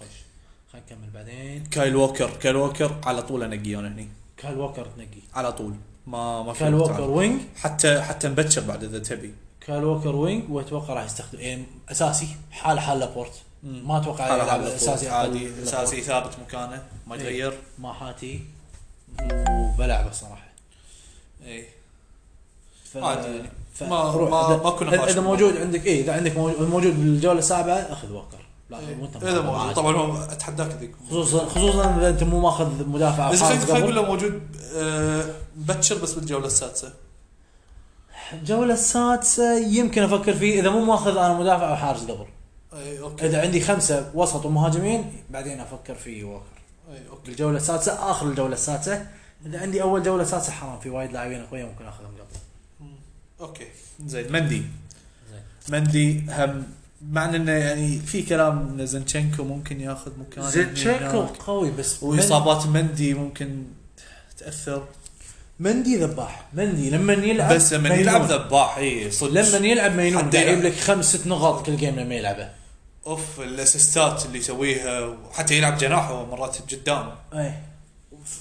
[SPEAKER 1] خش خلينا نكمل بعدين
[SPEAKER 2] كايل ووكر كايل ووكر على طول انقيه انا هني
[SPEAKER 1] كايل ووكر تنقي
[SPEAKER 2] على طول ما ما في
[SPEAKER 1] كايل
[SPEAKER 2] وقت
[SPEAKER 1] ووكر
[SPEAKER 2] عاد.
[SPEAKER 1] وينج
[SPEAKER 2] حتى حتى مبكر بعد اذا تبي
[SPEAKER 1] كايل ووكر وينج واتوقع راح يستخدم يعني اساسي حال حال لابورت ما اتوقع
[SPEAKER 2] على
[SPEAKER 1] يلعب
[SPEAKER 2] لعب
[SPEAKER 1] اساسي
[SPEAKER 2] اساسي
[SPEAKER 1] أقل
[SPEAKER 2] عادي
[SPEAKER 1] لابورت.
[SPEAKER 2] اساسي ثابت مكانه ما
[SPEAKER 1] إيه.
[SPEAKER 2] يتغير
[SPEAKER 1] ما حاتي وبلعبه صراحه إيه.
[SPEAKER 2] اي
[SPEAKER 1] ف...
[SPEAKER 2] عادي يعني.
[SPEAKER 1] ف...
[SPEAKER 2] ما-
[SPEAKER 1] روح.
[SPEAKER 2] ما-
[SPEAKER 1] إذا-
[SPEAKER 2] ما كنا
[SPEAKER 1] إذا-
[SPEAKER 2] نقاش
[SPEAKER 1] اذا موجود عندك اي اذا عندك موجود, موجود بالجوله السابعه اخذ ووكر لا مو أنت
[SPEAKER 2] اذا
[SPEAKER 1] مخاطب
[SPEAKER 2] إيه. موجود
[SPEAKER 1] عادي.
[SPEAKER 2] طبعا هو اتحداك ذيك
[SPEAKER 1] خصوصا خصوصا اذا انت مو ماخذ مدافع
[SPEAKER 2] بس
[SPEAKER 1] خالص
[SPEAKER 2] خلينا خلينا نقول
[SPEAKER 1] قبل.
[SPEAKER 2] لو موجود آه، مبكر بس بالجوله السادسه
[SPEAKER 1] الجوله السادسه يمكن افكر فيه اذا مو ماخذ انا مدافع او حارس قبل إيه،
[SPEAKER 2] اي اوكي
[SPEAKER 1] اذا عندي خمسه وسط ومهاجمين بعدين افكر في ووكر
[SPEAKER 2] اي اوكي
[SPEAKER 1] الجوله السادسه اخر الجوله السادسه اذا عندي اول جوله سادسه حرام في وايد لاعبين اقوياء ممكن اخذهم قبل
[SPEAKER 2] اوكي زين مندي
[SPEAKER 1] زين.
[SPEAKER 2] مندي هم مع انه يعني في كلام ان زنشنكو ممكن ياخذ مكان
[SPEAKER 1] زيتشينكو
[SPEAKER 2] هناك.
[SPEAKER 1] قوي بس
[SPEAKER 2] واصابات مندي ممكن تاثر
[SPEAKER 1] مندي ذباح مندي لما يلعب
[SPEAKER 2] بس لما
[SPEAKER 1] مجنون.
[SPEAKER 2] يلعب ذباح اي صدق
[SPEAKER 1] لما يلعب مينون
[SPEAKER 2] حتى
[SPEAKER 1] يجيب
[SPEAKER 2] يلعب.
[SPEAKER 1] لك خمس ست نقاط كل جيم لما يلعبه
[SPEAKER 2] اوف الاسيستات اللي يسويها وحتى يلعب جناح هو مرات قدام
[SPEAKER 1] اي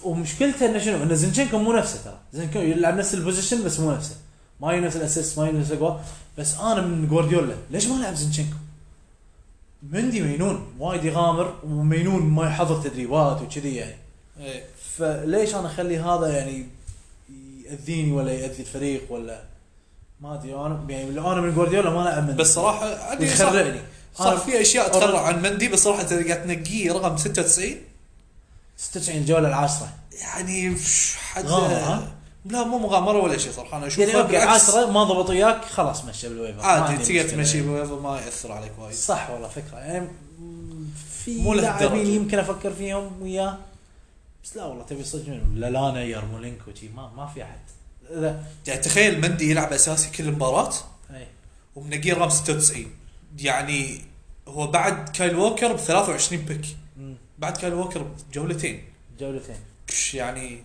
[SPEAKER 1] ومشكلته انه إيه. شنو انه زنشنكو مو نفسه ترى زنشنكو يلعب نفس البوزيشن بس مو نفسه ما يجي نفس الاسيست ما يجي نفس الجوال بس انا من جوارديولا ليش ما لعب زنشنكو؟ مندي مينون وايد يغامر ومينون ما يحضر تدريبات وكذي يعني
[SPEAKER 2] اي
[SPEAKER 1] فليش انا اخلي هذا يعني ياذيني ولا ياذي الفريق ولا ما ادري انا يعني لو انا من جوارديولا ما العب من
[SPEAKER 2] بس صراحه عادي صح,
[SPEAKER 1] يخرعني
[SPEAKER 2] صح
[SPEAKER 1] أنا-
[SPEAKER 2] في اشياء تخرع عن مندي بس صراحه انت قاعد تنقيه رقم 96
[SPEAKER 1] 96 الجوله العاشره
[SPEAKER 2] يعني فش حد
[SPEAKER 1] غامر، ها؟
[SPEAKER 2] لا مو مغامره ولا شيء صراحه انا اشوفه
[SPEAKER 1] يعني اوكي
[SPEAKER 2] بالعكس.
[SPEAKER 1] 10 ما ضبط وياك خلاص مشى بالويفر ما
[SPEAKER 2] عادي
[SPEAKER 1] عندي
[SPEAKER 2] تقدر
[SPEAKER 1] مشكلة
[SPEAKER 2] تمشي
[SPEAKER 1] يعني.
[SPEAKER 2] بويفر ما ياثر عليك وايد
[SPEAKER 1] صح والله فكره يعني م- في
[SPEAKER 2] مو لهالدرجة.
[SPEAKER 1] لاعبين يمكن افكر فيهم وياه بس لا والله تبي صدق منهم لالانا يرمولينكو شي ما ما في احد لا إيه.
[SPEAKER 2] يعني تخيل مندي يلعب اساسي كل مباراه
[SPEAKER 1] اي
[SPEAKER 2] ومنقيه رقم 96 يعني هو بعد كايل ووكر ب 23 بيك
[SPEAKER 1] مم.
[SPEAKER 2] بعد كايل ووكر بجولتين
[SPEAKER 1] جولتين
[SPEAKER 2] كش يعني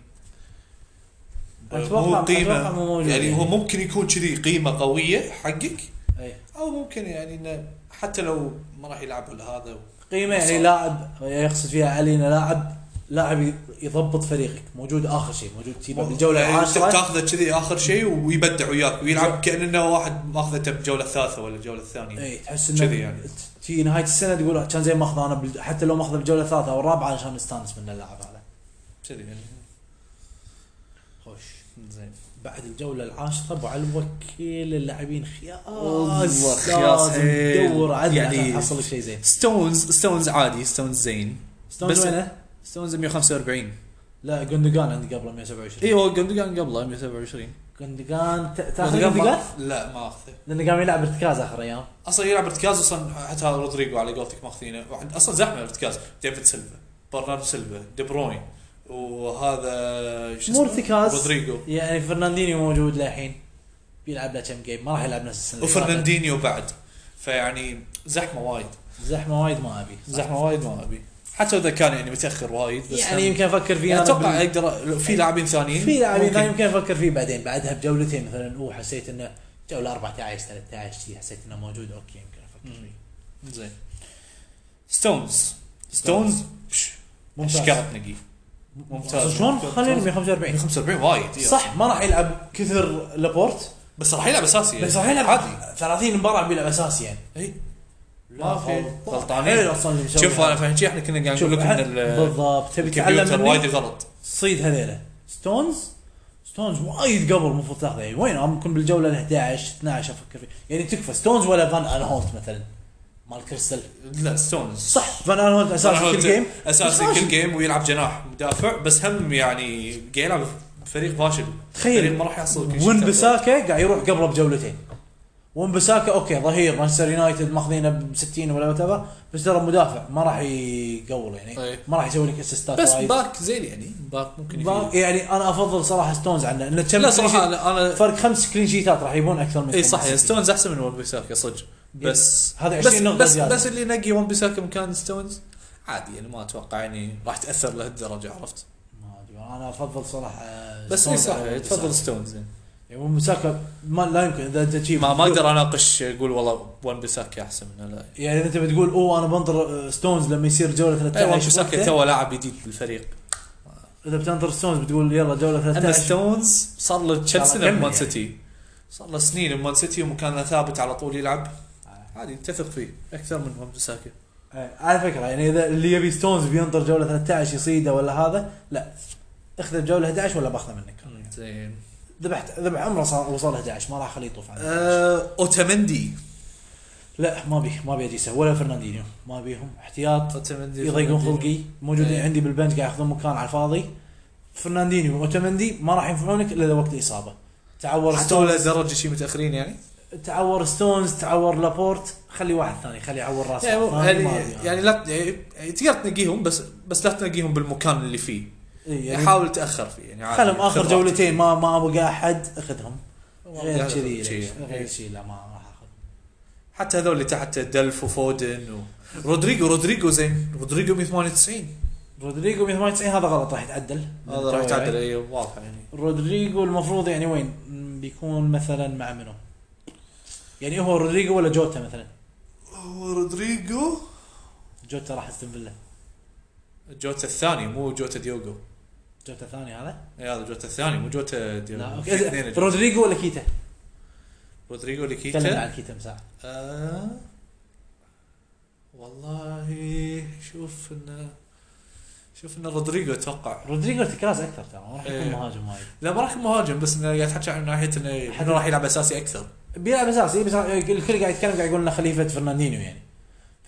[SPEAKER 1] اتوقع
[SPEAKER 2] مو إيه، قيمة.
[SPEAKER 1] اتوقع مو موجود
[SPEAKER 2] يعني هو ممكن يكون كذي قيمه قويه حقك
[SPEAKER 1] اي
[SPEAKER 2] او ممكن يعني انه حتى لو ما راح يلعب ولا هذا و...
[SPEAKER 1] قيمه يعني
[SPEAKER 2] صح.
[SPEAKER 1] لاعب يقصد فيها علي انه لاعب لاعب يضبط فريقك موجود اخر شيء موجود تيبا بالجوله
[SPEAKER 2] يعني أنت
[SPEAKER 1] العاشره
[SPEAKER 2] بتاخذه كذي اخر شيء ويبدع وياك ويلعب كانه واحد ماخذته بالجوله الثالثه ولا الجوله الثانيه
[SPEAKER 1] اي إيه، تحس انه
[SPEAKER 2] إيه، كذي يعني
[SPEAKER 1] تي نهايه السنه تقول كان زين ماخذ انا بال- حتى لو ماخذه بالجوله الثالثه او الرابعه عشان نستانس من اللاعب هذا
[SPEAKER 2] كذي يعني
[SPEAKER 1] خوش
[SPEAKER 2] زين
[SPEAKER 1] بعد الجوله العاشره ابو علوه كل اللاعبين خياس
[SPEAKER 2] والله خياس
[SPEAKER 1] لازم
[SPEAKER 2] حيل.
[SPEAKER 1] تدور عدل
[SPEAKER 2] يعني-
[SPEAKER 1] عشان تحصل لك شيء زين
[SPEAKER 2] ستونز ستونز عادي ستونز زين
[SPEAKER 1] ستونز
[SPEAKER 2] بس-
[SPEAKER 1] وينه؟
[SPEAKER 2] ستونز 145
[SPEAKER 1] لا جندوجان عندي قبله 127
[SPEAKER 2] اي إيه، هو جندوجان قبله 127
[SPEAKER 1] جندوجان ت- تاخذ جندوجان؟
[SPEAKER 2] لا ما اخذه
[SPEAKER 1] لانه قام يلعب ارتكاز اخر ايام
[SPEAKER 2] اصلا يلعب ارتكاز اصلا حتى رودريجو على قولتك ماخذينه وعند- اصلا زحمه الارتكاز ديفيد سيلفا برناردو سيلفا دي بروين وهذا شو
[SPEAKER 1] مو
[SPEAKER 2] اسمه؟
[SPEAKER 1] ارتكاز
[SPEAKER 2] رودريجو
[SPEAKER 1] يعني فرناندينيو موجود للحين بيلعب له كم جيم ما راح يلعب نفس السنه اللي فاتت.
[SPEAKER 2] وفرناندينيو بعد فيعني زحمه وايد
[SPEAKER 1] زحمه وايد ما ابي
[SPEAKER 2] زحمه وايد ما ابي حتى اذا كان يعني متاخر وايد بس
[SPEAKER 1] يعني
[SPEAKER 2] هم-
[SPEAKER 1] يمكن افكر فيه
[SPEAKER 2] يعني
[SPEAKER 1] أنا
[SPEAKER 2] اتوقع
[SPEAKER 1] بال-
[SPEAKER 2] اقدر لو في لاعبين ثانيين
[SPEAKER 1] في لاعبين
[SPEAKER 2] ممكن.
[SPEAKER 1] ثانيين يمكن افكر فيه بعدين بعدها بجولتين مثلا او حسيت انه جوله 14 13 شي حسيت انه موجود اوكي يمكن افكر فيه
[SPEAKER 2] زين ستونز ستونز
[SPEAKER 1] ممتاز.
[SPEAKER 2] شكرت نقي ممتاز.
[SPEAKER 1] شلون خلينا 145
[SPEAKER 2] 145 وايد يلا.
[SPEAKER 1] صح ما راح يلعب كثر لابورت
[SPEAKER 2] بس راح يلعب اساسي يعني.
[SPEAKER 1] بس راح يلعب
[SPEAKER 2] عادي
[SPEAKER 1] 30 مباراه بيلعب اساسي يعني
[SPEAKER 2] اي
[SPEAKER 1] لا،
[SPEAKER 2] ما في
[SPEAKER 1] غلطان. حيل
[SPEAKER 2] غلطانين
[SPEAKER 1] اصلا اللي مسوي
[SPEAKER 2] شوف
[SPEAKER 1] هذا.
[SPEAKER 2] انا فاهم شي احنا كنا قاعد
[SPEAKER 1] إيه، شوف
[SPEAKER 2] نقول لك ان
[SPEAKER 1] أحد-
[SPEAKER 2] ال-
[SPEAKER 1] بالضبط تبي
[SPEAKER 2] الكمبيوتر
[SPEAKER 1] تتعلم
[SPEAKER 2] وايد
[SPEAKER 1] مني
[SPEAKER 2] غلط
[SPEAKER 1] صيد هذيله ستونز ستونز وايد قبل المفروض تاخذه يعني وين أنا ممكن بالجوله ال 11 12 افكر فيه يعني تكفى ستونز ولا فان انهولت مثلا مال كريستال
[SPEAKER 2] لا ستونز
[SPEAKER 1] صح فان انهولت اساسي كل جيم
[SPEAKER 2] اساسي
[SPEAKER 1] بس
[SPEAKER 2] كل
[SPEAKER 1] ماشي.
[SPEAKER 2] جيم ويلعب جناح مدافع بس هم يعني قاعد يلعب فريق فاشل
[SPEAKER 1] تخيل.
[SPEAKER 2] فريق ما راح يحصل كل شيء
[SPEAKER 1] وين بساكا قاعد يروح قبله بجولتين ومبساكا اوكي ظهير مانشستر يونايتد ماخذينه ب 60 ولا وات بس ترى مدافع ما راح يقول يعني
[SPEAKER 2] أي.
[SPEAKER 1] ما راح يسوي لك اسيستات
[SPEAKER 2] طيب. بس
[SPEAKER 1] وايد.
[SPEAKER 2] باك زين يعني باك ممكن
[SPEAKER 1] باك- يعني انا افضل صراحه ستونز عنه لان كم
[SPEAKER 2] لا
[SPEAKER 1] كلين
[SPEAKER 2] صراحه
[SPEAKER 1] شيت-
[SPEAKER 2] انا انا
[SPEAKER 1] فرق خمس كلين شيتات راح يبون اكثر من
[SPEAKER 2] اي صح
[SPEAKER 1] من
[SPEAKER 2] يا
[SPEAKER 1] السيتي.
[SPEAKER 2] ستونز احسن من ون بيساكا صدق بس
[SPEAKER 1] هذا
[SPEAKER 2] بس
[SPEAKER 1] 20 نقطة
[SPEAKER 2] بس,
[SPEAKER 1] زيادة.
[SPEAKER 2] بس اللي ينقي ون بيساكا مكان ستونز عادي يعني ما اتوقع يعني راح تاثر لهالدرجه عرفت
[SPEAKER 1] ما أدري، انا افضل صراحه
[SPEAKER 2] بس اي
[SPEAKER 1] ستونز
[SPEAKER 2] صح
[SPEAKER 1] على
[SPEAKER 2] تفضل
[SPEAKER 1] مبساكا.
[SPEAKER 2] ستونز يعني.
[SPEAKER 1] يعني ومساكا ما لا يمكن اذا انت تجيب
[SPEAKER 2] ما ما اقدر اناقش اقول والله ون بيساكا احسن منه لا
[SPEAKER 1] يعني اذا انت بتقول اوه انا بنظر آه، ستونز لما يصير جوله
[SPEAKER 2] اي ون
[SPEAKER 1] 13
[SPEAKER 2] بيساكا
[SPEAKER 1] وقته.
[SPEAKER 2] إيه، يعني تو لاعب جديد بالفريق
[SPEAKER 1] اذا بتنظر ستونز بتقول يلا جوله
[SPEAKER 2] اما
[SPEAKER 1] 13
[SPEAKER 2] ستونز صار له كم
[SPEAKER 1] يلا
[SPEAKER 2] سنه
[SPEAKER 1] كمل
[SPEAKER 2] بمان
[SPEAKER 1] يعني.
[SPEAKER 2] سيتي صار له سنين بمان سيتي ومكانه ثابت على طول يلعب عادي تثق فيه اكثر من ون بيساكا
[SPEAKER 1] إيه، على فكره يعني اذا اللي يبي ستونز بينطر جوله 13 يصيده ولا هذا لا اخذ الجوله 11 ولا باخذه منك
[SPEAKER 2] زين
[SPEAKER 1] ذبحت ذبح عمره صار وصل 11 ما راح اخليه يطوف عنه
[SPEAKER 2] آه، اوتامندي
[SPEAKER 1] لا ما بيه ما بيه جيسه ولا فرناندينيو ما بيهم احتياط
[SPEAKER 2] اوتامندي
[SPEAKER 1] يضيقون خلقي موجودين
[SPEAKER 2] إيه.
[SPEAKER 1] عندي بالبنش قاعد ياخذون مكان على الفاضي فرناندينيو واوتمندي ما راح ينفعونك الا اذا وقت الاصابه تعور
[SPEAKER 2] حتى ولا
[SPEAKER 1] ستونز
[SPEAKER 2] درجه شي متاخرين يعني
[SPEAKER 1] تعور ستونز تعور لابورت خلي واحد ثاني خلي يعور راسه
[SPEAKER 2] يعني,
[SPEAKER 1] الثاني،
[SPEAKER 2] يعني,
[SPEAKER 1] ما أدري
[SPEAKER 2] يعني
[SPEAKER 1] أنا.
[SPEAKER 2] لا يعني تقدر تنقيهم بس بس لا تنقيهم بالمكان اللي فيه
[SPEAKER 1] إيه،
[SPEAKER 2] يعني
[SPEAKER 1] يعني
[SPEAKER 2] حاول تاخر فيه يعني عادي.
[SPEAKER 1] خلهم اخر
[SPEAKER 2] خذ
[SPEAKER 1] جولتين ما ما ابقى احد اخذهم
[SPEAKER 2] راحتك.
[SPEAKER 1] غير كذي يعني.
[SPEAKER 2] شي.
[SPEAKER 1] ليش؟ غير كذي لا ما راح اخذ
[SPEAKER 2] حتى هذول اللي تحت دلف وفودن و... رودريجو رودريجو زين رودريجو 198
[SPEAKER 1] رودريجو 198 هذا غلط راح يتعدل
[SPEAKER 2] هذا راح يتعدل اي واضحه يعني
[SPEAKER 1] رودريجو المفروض يعني وين؟ م، بيكون مثلا مع منو؟ يعني هو رودريجو ولا جوتا مثلا؟
[SPEAKER 2] هو رودريجو
[SPEAKER 1] جوتا راح استون فيلا
[SPEAKER 2] جوتا الثاني مو جوتا ديوغو
[SPEAKER 1] جوتا ثاني هذا؟
[SPEAKER 2] إي، هذا جوتا الثاني مو جوتا
[SPEAKER 1] لا
[SPEAKER 2] ديوغو في اثنين
[SPEAKER 1] اوكي
[SPEAKER 2] جوتا.
[SPEAKER 1] رودريجو ولا كيتا؟
[SPEAKER 2] رودريجو
[SPEAKER 1] تكلمنا
[SPEAKER 2] لكيتا
[SPEAKER 1] عن كيتا مساعة
[SPEAKER 2] آه والله شوف انه شوف انه رودريجو اتوقع
[SPEAKER 1] رودريجو ارتكاز اكثر ترى ما راح يكون
[SPEAKER 2] إيه.
[SPEAKER 1] مهاجم وايد
[SPEAKER 2] لا ما راح يكون مهاجم بس انه قاعد تحكي عن ناحيه انه انه راح يلعب اساسي اكثر
[SPEAKER 1] بيلعب اساسي بس الكل قاعد يتكلم قاعد يقول انه خليفه فرناندينيو يعني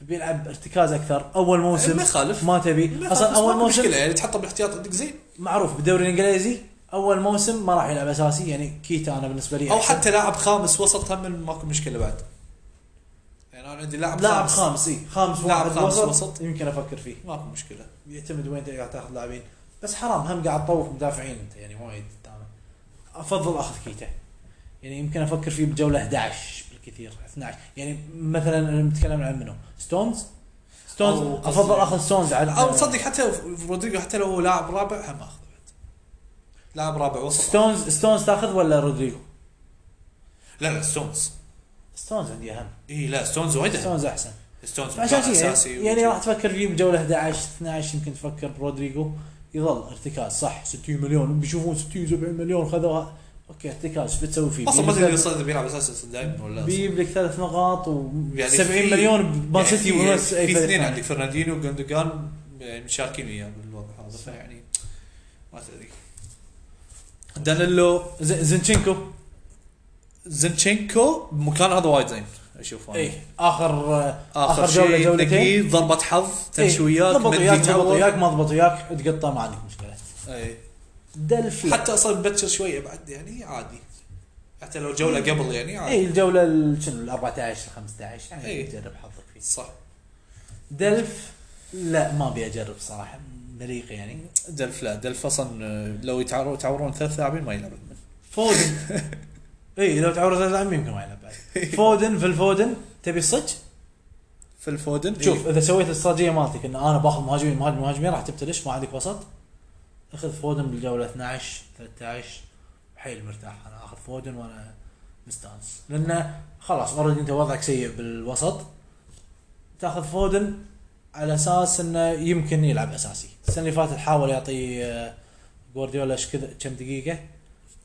[SPEAKER 1] فبيلعب ارتكاز اكثر اول موسم
[SPEAKER 2] ما يخالف
[SPEAKER 1] ما تبي اصلا اول موسم
[SPEAKER 2] مشكله يعني تحطه باحتياط عندك زين
[SPEAKER 1] معروف بالدوري الانجليزي اول موسم ما راح يلعب اساسي يعني كيتا انا بالنسبه لي
[SPEAKER 2] او
[SPEAKER 1] أحسن.
[SPEAKER 2] حتى لاعب خامس وسط هم ماكو مشكله بعد يعني انا عندي لاعب
[SPEAKER 1] لاعب خامس اي خامس
[SPEAKER 2] لاعب
[SPEAKER 1] واحد
[SPEAKER 2] خامس
[SPEAKER 1] وسط,
[SPEAKER 2] وسط.
[SPEAKER 1] يمكن افكر فيه
[SPEAKER 2] ماكو مشكله
[SPEAKER 1] يعتمد وين انت قاعد تاخذ لاعبين بس حرام هم قاعد تطوف مدافعين انت يعني وايد قدامك. افضل اخذ كيتا يعني يمكن افكر فيه بجوله 11 بالكثير 12 يعني مثلا نتكلم عن منو ستونز
[SPEAKER 2] أو
[SPEAKER 1] ستونز
[SPEAKER 2] قصدي-
[SPEAKER 1] افضل اخذ ستونز على
[SPEAKER 2] او تصدق حتى في رودريجو حتى لو هو لاعب رابع هم اخذه بعد لاعب رابع وسط
[SPEAKER 1] ستونز ستونز تاخذ ولا رودريجو؟
[SPEAKER 2] لا لا ستونز
[SPEAKER 1] ستونز عندي اهم
[SPEAKER 2] اي لا ستونز وايد أهم.
[SPEAKER 1] ستونز احسن
[SPEAKER 2] ستونز
[SPEAKER 1] عشان
[SPEAKER 2] مكان
[SPEAKER 1] كذا
[SPEAKER 2] اساسي
[SPEAKER 1] يعني, يعني راح تفكر فيه بجوله 11 12 يمكن تفكر برودريجو يظل ارتكاز صح 60 مليون بيشوفون 60 70 مليون خذوها اوكي ارتكاز شو بتسوي فيه؟
[SPEAKER 2] اصلا ما
[SPEAKER 1] بينزل-
[SPEAKER 2] تدري صدق بيلعب اساسي دائما ولا
[SPEAKER 1] بيجيب لك ثلاث نقاط و70
[SPEAKER 2] يعني في-
[SPEAKER 1] مليون بمان
[SPEAKER 2] يعني
[SPEAKER 1] سيتي
[SPEAKER 2] في-
[SPEAKER 1] ونص اي
[SPEAKER 2] في
[SPEAKER 1] فريق
[SPEAKER 2] اثنين
[SPEAKER 1] ثاني.
[SPEAKER 2] عندي فرناندينو وجندوجان يعني مشاركين وياه بالوضع هذا فيعني ما تدري دانيلو
[SPEAKER 1] ز- زنشينكو
[SPEAKER 2] زنشينكو مكان هذا وايد زين اشوف انا
[SPEAKER 1] اي اخر
[SPEAKER 2] اخر,
[SPEAKER 1] إيه، آخر
[SPEAKER 2] جوله
[SPEAKER 1] جولة،
[SPEAKER 2] شيء
[SPEAKER 1] جولتين.
[SPEAKER 2] إيه. جولتين إيه. ضربه حظ تنشويات
[SPEAKER 1] ضبط
[SPEAKER 2] مندي
[SPEAKER 1] وياك ضبط
[SPEAKER 2] تعور.
[SPEAKER 1] وياك ما ضبط وياك تقطع ما عندك مشكله
[SPEAKER 2] إي.
[SPEAKER 1] دلف لا.
[SPEAKER 2] حتى اصلا مبكر شويه بعد يعني عادي حتى لو جوله قبل يعني عادي
[SPEAKER 1] اي الجوله إيه، ال- شنو ال 14 ال 15 يعني
[SPEAKER 2] إي.
[SPEAKER 1] جرب حظك فيه
[SPEAKER 2] صح
[SPEAKER 1] دلف لا ما ابي اجرب صراحه مليق يعني
[SPEAKER 2] دلف لا دلف اصلا آه، لو يتعورون يتعورون ثلاث لاعبين ما يلعبون
[SPEAKER 1] فودن اي لو تعور ثلاث لاعبين يمكن ما يلعب بعد
[SPEAKER 2] إيه.
[SPEAKER 1] فودن في الفودن تبي صدق
[SPEAKER 2] في الفودن
[SPEAKER 1] شوف اذا سويت الاستراتيجيه مالتك ان انا باخذ مهاجمين مهاجمين مهاجمين راح تبتلش ما عندك وسط اخذ فودن بالجوله 12 13 حيل مرتاح انا اخذ فودن وانا مستانس لانه خلاص اوريدي انت وضعك سيء بالوسط تاخذ فودن على اساس انه يمكن يلعب اساسي السنه اللي فاتت حاول يعطي آه، جوارديولا ايش كذا كم دقيقه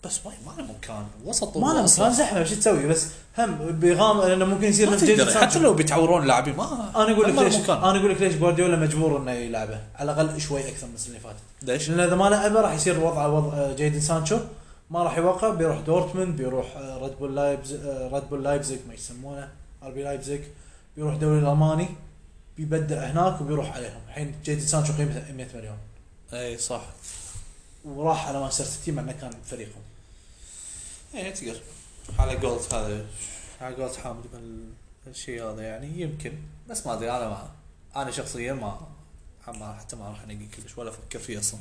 [SPEAKER 2] بس ما ما له مكان وسط
[SPEAKER 1] ما انا
[SPEAKER 2] أصلاً.
[SPEAKER 1] كان زحمه شو تسوي بس هم بيغام لانه ممكن يصير
[SPEAKER 2] ما
[SPEAKER 1] نفس جيدن
[SPEAKER 2] تقدر
[SPEAKER 1] سانشو.
[SPEAKER 2] حتى لو بيتعورون لاعبين ما
[SPEAKER 1] انا اقول لك
[SPEAKER 2] ما له
[SPEAKER 1] ليش
[SPEAKER 2] مكان.
[SPEAKER 1] انا اقول لك ليش جوارديولا مجبور انه يلعبه على الاقل شوي اكثر من السنه اللي فاتت
[SPEAKER 2] ليش؟
[SPEAKER 1] لان اذا ما لعبه راح يصير وضعه وضع جيدن سانشو ما راح يوقع بيروح دورتموند بيروح آه، ريد بول لايبز آه، ريد بول لايبزيج ما يسمونه ار بي لايبزيج بيروح الدوري الالماني بيبدع هناك وبيروح عليهم الحين جيدن سانشو قيمته 100 مليون
[SPEAKER 2] اي صح
[SPEAKER 1] وراح
[SPEAKER 2] إيه،
[SPEAKER 1] على مانشستر سيتي مع انه كان فريقهم
[SPEAKER 2] اي تقدر على جولد هذا على قولة حامد الشيء هذا يعني يمكن بس ما ادري انا ما انا شخصيا ما ما حتى ما راح انقي كلش ولا افكر فيه اصلا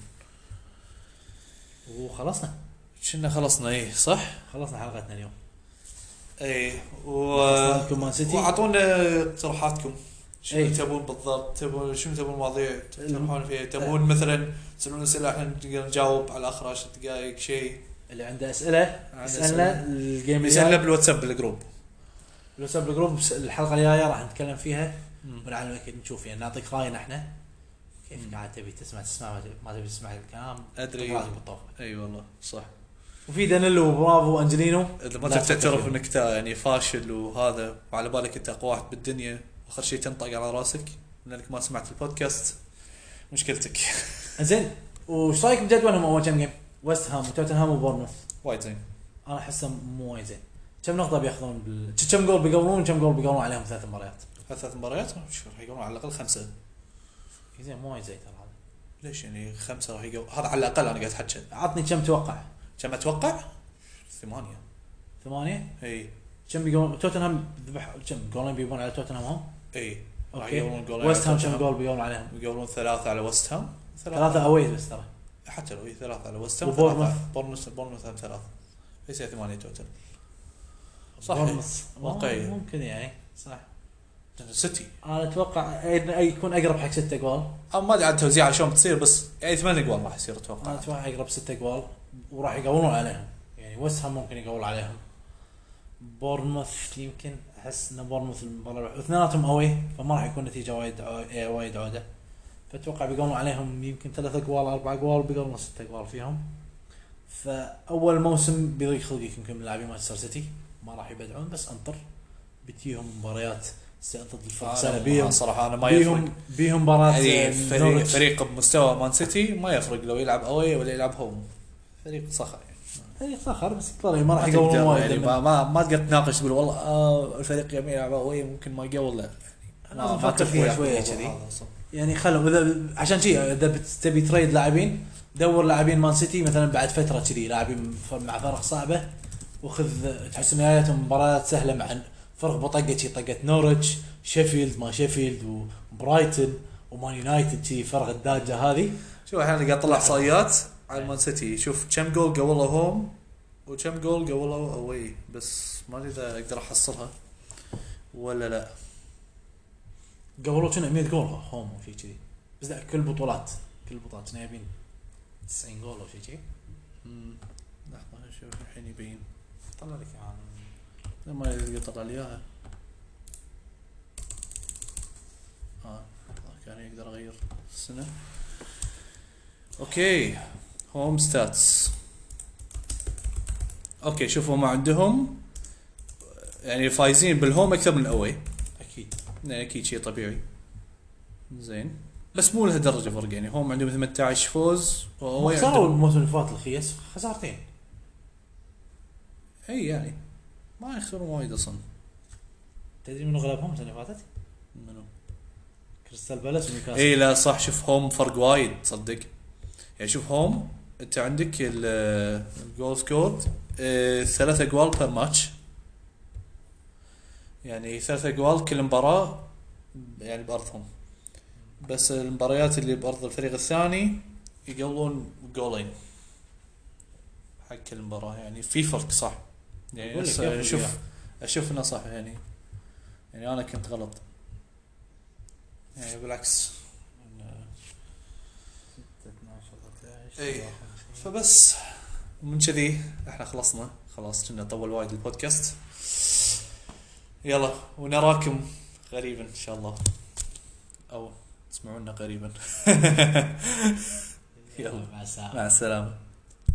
[SPEAKER 1] وخلصنا
[SPEAKER 2] كنا خلصنا ايه صح؟
[SPEAKER 1] خلصنا حلقتنا اليوم
[SPEAKER 2] ايه و
[SPEAKER 1] خلصناكم مان سيتي.
[SPEAKER 2] واعطونا اقتراحاتكم شنو
[SPEAKER 1] إيه.
[SPEAKER 2] تبون بالضبط تبون شنو تبون مواضيع تروحون فيها تبون
[SPEAKER 1] إيه.
[SPEAKER 2] مثلا تسالون اسئله احنا نقدر نجاوب على اخر 10 دقائق شيء
[SPEAKER 1] اللي عنده اسئله
[SPEAKER 2] عنده
[SPEAKER 1] اسالنا الجيم
[SPEAKER 2] يسالنا
[SPEAKER 1] الجاي
[SPEAKER 2] بالواتساب بالجروب
[SPEAKER 1] لو سب الجروب بس- الحلقه الجايه راح نتكلم فيها ونعلمك نشوف يعني نعطيك راينا احنا كيف
[SPEAKER 2] مم.
[SPEAKER 1] قاعد تبي تسمع تسمع ما تبي- ما تبي تسمع الكلام
[SPEAKER 2] أدري.
[SPEAKER 1] راسك بالطوفه
[SPEAKER 2] اي والله صح
[SPEAKER 1] وفي دانيلو وبرافو وانجلينو
[SPEAKER 2] اذا ما
[SPEAKER 1] لا
[SPEAKER 2] تبي
[SPEAKER 1] تفكر
[SPEAKER 2] تعترف
[SPEAKER 1] فيه.
[SPEAKER 2] انك تا- يعني فاشل وهذا وعلى بالك انت اقوى واحد بالدنيا واخر شيء تنطق على راسك لانك ما سمعت البودكاست مشكلتك
[SPEAKER 1] زين وش رايك بجدولهم اول كم جيم؟ ويست هام وتوتنهام وبورنموث
[SPEAKER 2] وايد زين
[SPEAKER 1] انا احسه مو وايد زين كم نقطه بياخذون بال... كم جول بيقولون كم جول بيقولون عليهم ثلاث مباريات
[SPEAKER 2] ثلاث مباريات شو راح يقولون على الاقل خمسه
[SPEAKER 1] زين مو وايد زين ترى هذا.
[SPEAKER 2] ليش يعني خمسه راح يقولون هذا على الاقل انا قاعد احكي
[SPEAKER 1] عطني كم توقع؟
[SPEAKER 2] كم اتوقع؟ ثمانيه
[SPEAKER 1] ثمانيه؟
[SPEAKER 2] اي
[SPEAKER 1] كم بيقولون توتنهام ذبح كم جولين بيبون على توتنهام هم؟
[SPEAKER 2] اي راح
[SPEAKER 1] اوكي
[SPEAKER 2] يقولون جولين
[SPEAKER 1] ويست هام
[SPEAKER 2] على
[SPEAKER 1] كم
[SPEAKER 2] توتنهام.
[SPEAKER 1] جول بيقولون عليهم؟
[SPEAKER 2] يقولون ثلاثه على وست هام
[SPEAKER 1] ثلاثه اويز بس ترى
[SPEAKER 2] حتى لو هي ثلاثه على وست هام
[SPEAKER 1] وبورموث.
[SPEAKER 2] ثلاثة. بورموث بورموث هم ثلاثه ليس ثمانيه توتل صح.
[SPEAKER 1] بورنموث
[SPEAKER 2] واقعية.
[SPEAKER 1] ممكن يعني صح
[SPEAKER 2] سيتي
[SPEAKER 1] انا اتوقع إن يكون اقرب حق ستة جوال
[SPEAKER 2] أو ما ادري عن التوزيع شلون بتصير بس يعني ثمان اقوال راح يصير
[SPEAKER 1] انا
[SPEAKER 2] اتوقع
[SPEAKER 1] اتوقع اقرب ستة جوال وراح يقولون عليهم يعني ويست هام ممكن يقول عليهم بورنموث يمكن احس ان بورنموث المباراه الوحيدة- واثنيناتهم اوي فما راح يكون نتيجه وايد عو- إيه، وايد عوده فاتوقع بيقولون عليهم يمكن ثلاثة جوال اربعة جوال بيقولون ستة جوال فيهم فاول موسم بيضيق خلقك يمكن من لاعبين مانشستر سيتي ما راح يبدعون بس انطر بتجيهم مباريات س- ضد الفرق
[SPEAKER 2] أنا-
[SPEAKER 1] بيهم
[SPEAKER 2] صراحه انا آه، ما يفرق
[SPEAKER 1] بيهم بيهم مباراة
[SPEAKER 2] يعني فريق,
[SPEAKER 1] نورتش.
[SPEAKER 2] فريق بمستوى مان سيتي ما يفرق لو يلعب اوي ولا يلعب هوم فريق صخر يعني
[SPEAKER 1] فريق صخر بس طلع ما راح
[SPEAKER 2] ما
[SPEAKER 1] يقولون
[SPEAKER 2] تقدر
[SPEAKER 1] وايد
[SPEAKER 2] يعني
[SPEAKER 1] لما-
[SPEAKER 2] ما, ما, ما تقدر تناقش تقول والله آه الفريق يمين يلعب اوي ممكن ما يقول لا
[SPEAKER 1] لازم نفكر فيها شويه كذي
[SPEAKER 2] كذي
[SPEAKER 1] يعني خلوا اذا عشان شي اذا بت- تبي تريد لاعبين دور لاعبين مان سيتي مثلا بعد فتره كذي لاعبين ف- مع فرق صعبه وخذ تحس ان جايتهم مباريات سهله مع فرق بطقه شي طقه نورتش شيفيلد ما شيفيلد وبرايتن ومان يونايتد شي فرق الداجه هذه نعم.
[SPEAKER 2] شوف الحين قاعد اطلع احصائيات على مان سيتي شوف كم جول قولوا هوم وكم جول قولوا اوي بس ما ادري اذا اقدر احصلها ولا لا
[SPEAKER 1] قبل كنا 100 جول هوم وشي كذي بس لا كل بطولات كل بطولات كنا جايبين 90 جول او شي كذي
[SPEAKER 2] مم. لحظه شوف الحين يبين
[SPEAKER 1] طلع لك عن
[SPEAKER 2] لا ما يلقى طلع لي اياها اه كان يقدر اغير السنه اوكي هوم ستاتس اوكي شوفوا ما عندهم يعني فايزين بالهوم اكثر من الاوي
[SPEAKER 1] اكيد
[SPEAKER 2] يعني اكيد شيء طبيعي زين بس مو لهالدرجه فرق يعني هوم عندهم 18 فوز
[SPEAKER 1] هو
[SPEAKER 2] واوي
[SPEAKER 1] خسروا
[SPEAKER 2] عندهم
[SPEAKER 1] الموسم اللي فات الخيس خسارتين
[SPEAKER 2] اي يعني ما يخسرون وايد اصلا
[SPEAKER 1] تدري من غلبهم السنه اللي فاتت؟
[SPEAKER 2] منو
[SPEAKER 1] كريستال بالاس ونيوكاسل
[SPEAKER 2] اي إيه، لا صح شوف هوم فرق وايد تصدق يعني شوف هوم انت عندك ال- الجول سكورد آه، ثلاثة جوال بير ماتش يعني ثلاثة جوال كل مباراة يعني بأرضهم بس المباريات اللي بأرض الفريق الثاني يقولون جولين حق كل مباراة يعني في فرق صح يعني
[SPEAKER 1] أقول لك
[SPEAKER 2] بس
[SPEAKER 1] يا أخي
[SPEAKER 2] شوف
[SPEAKER 1] يا.
[SPEAKER 2] اشوف انه صح يعني يعني انا كنت غلط يعني بالعكس إي. فبس من كذي احنا خلصنا خلاص كنا طول وايد البودكاست يلا ونراكم قريبا ان شاء الله او تسمعونا قريبا يلا.
[SPEAKER 1] مع السلامه
[SPEAKER 2] مع السلامه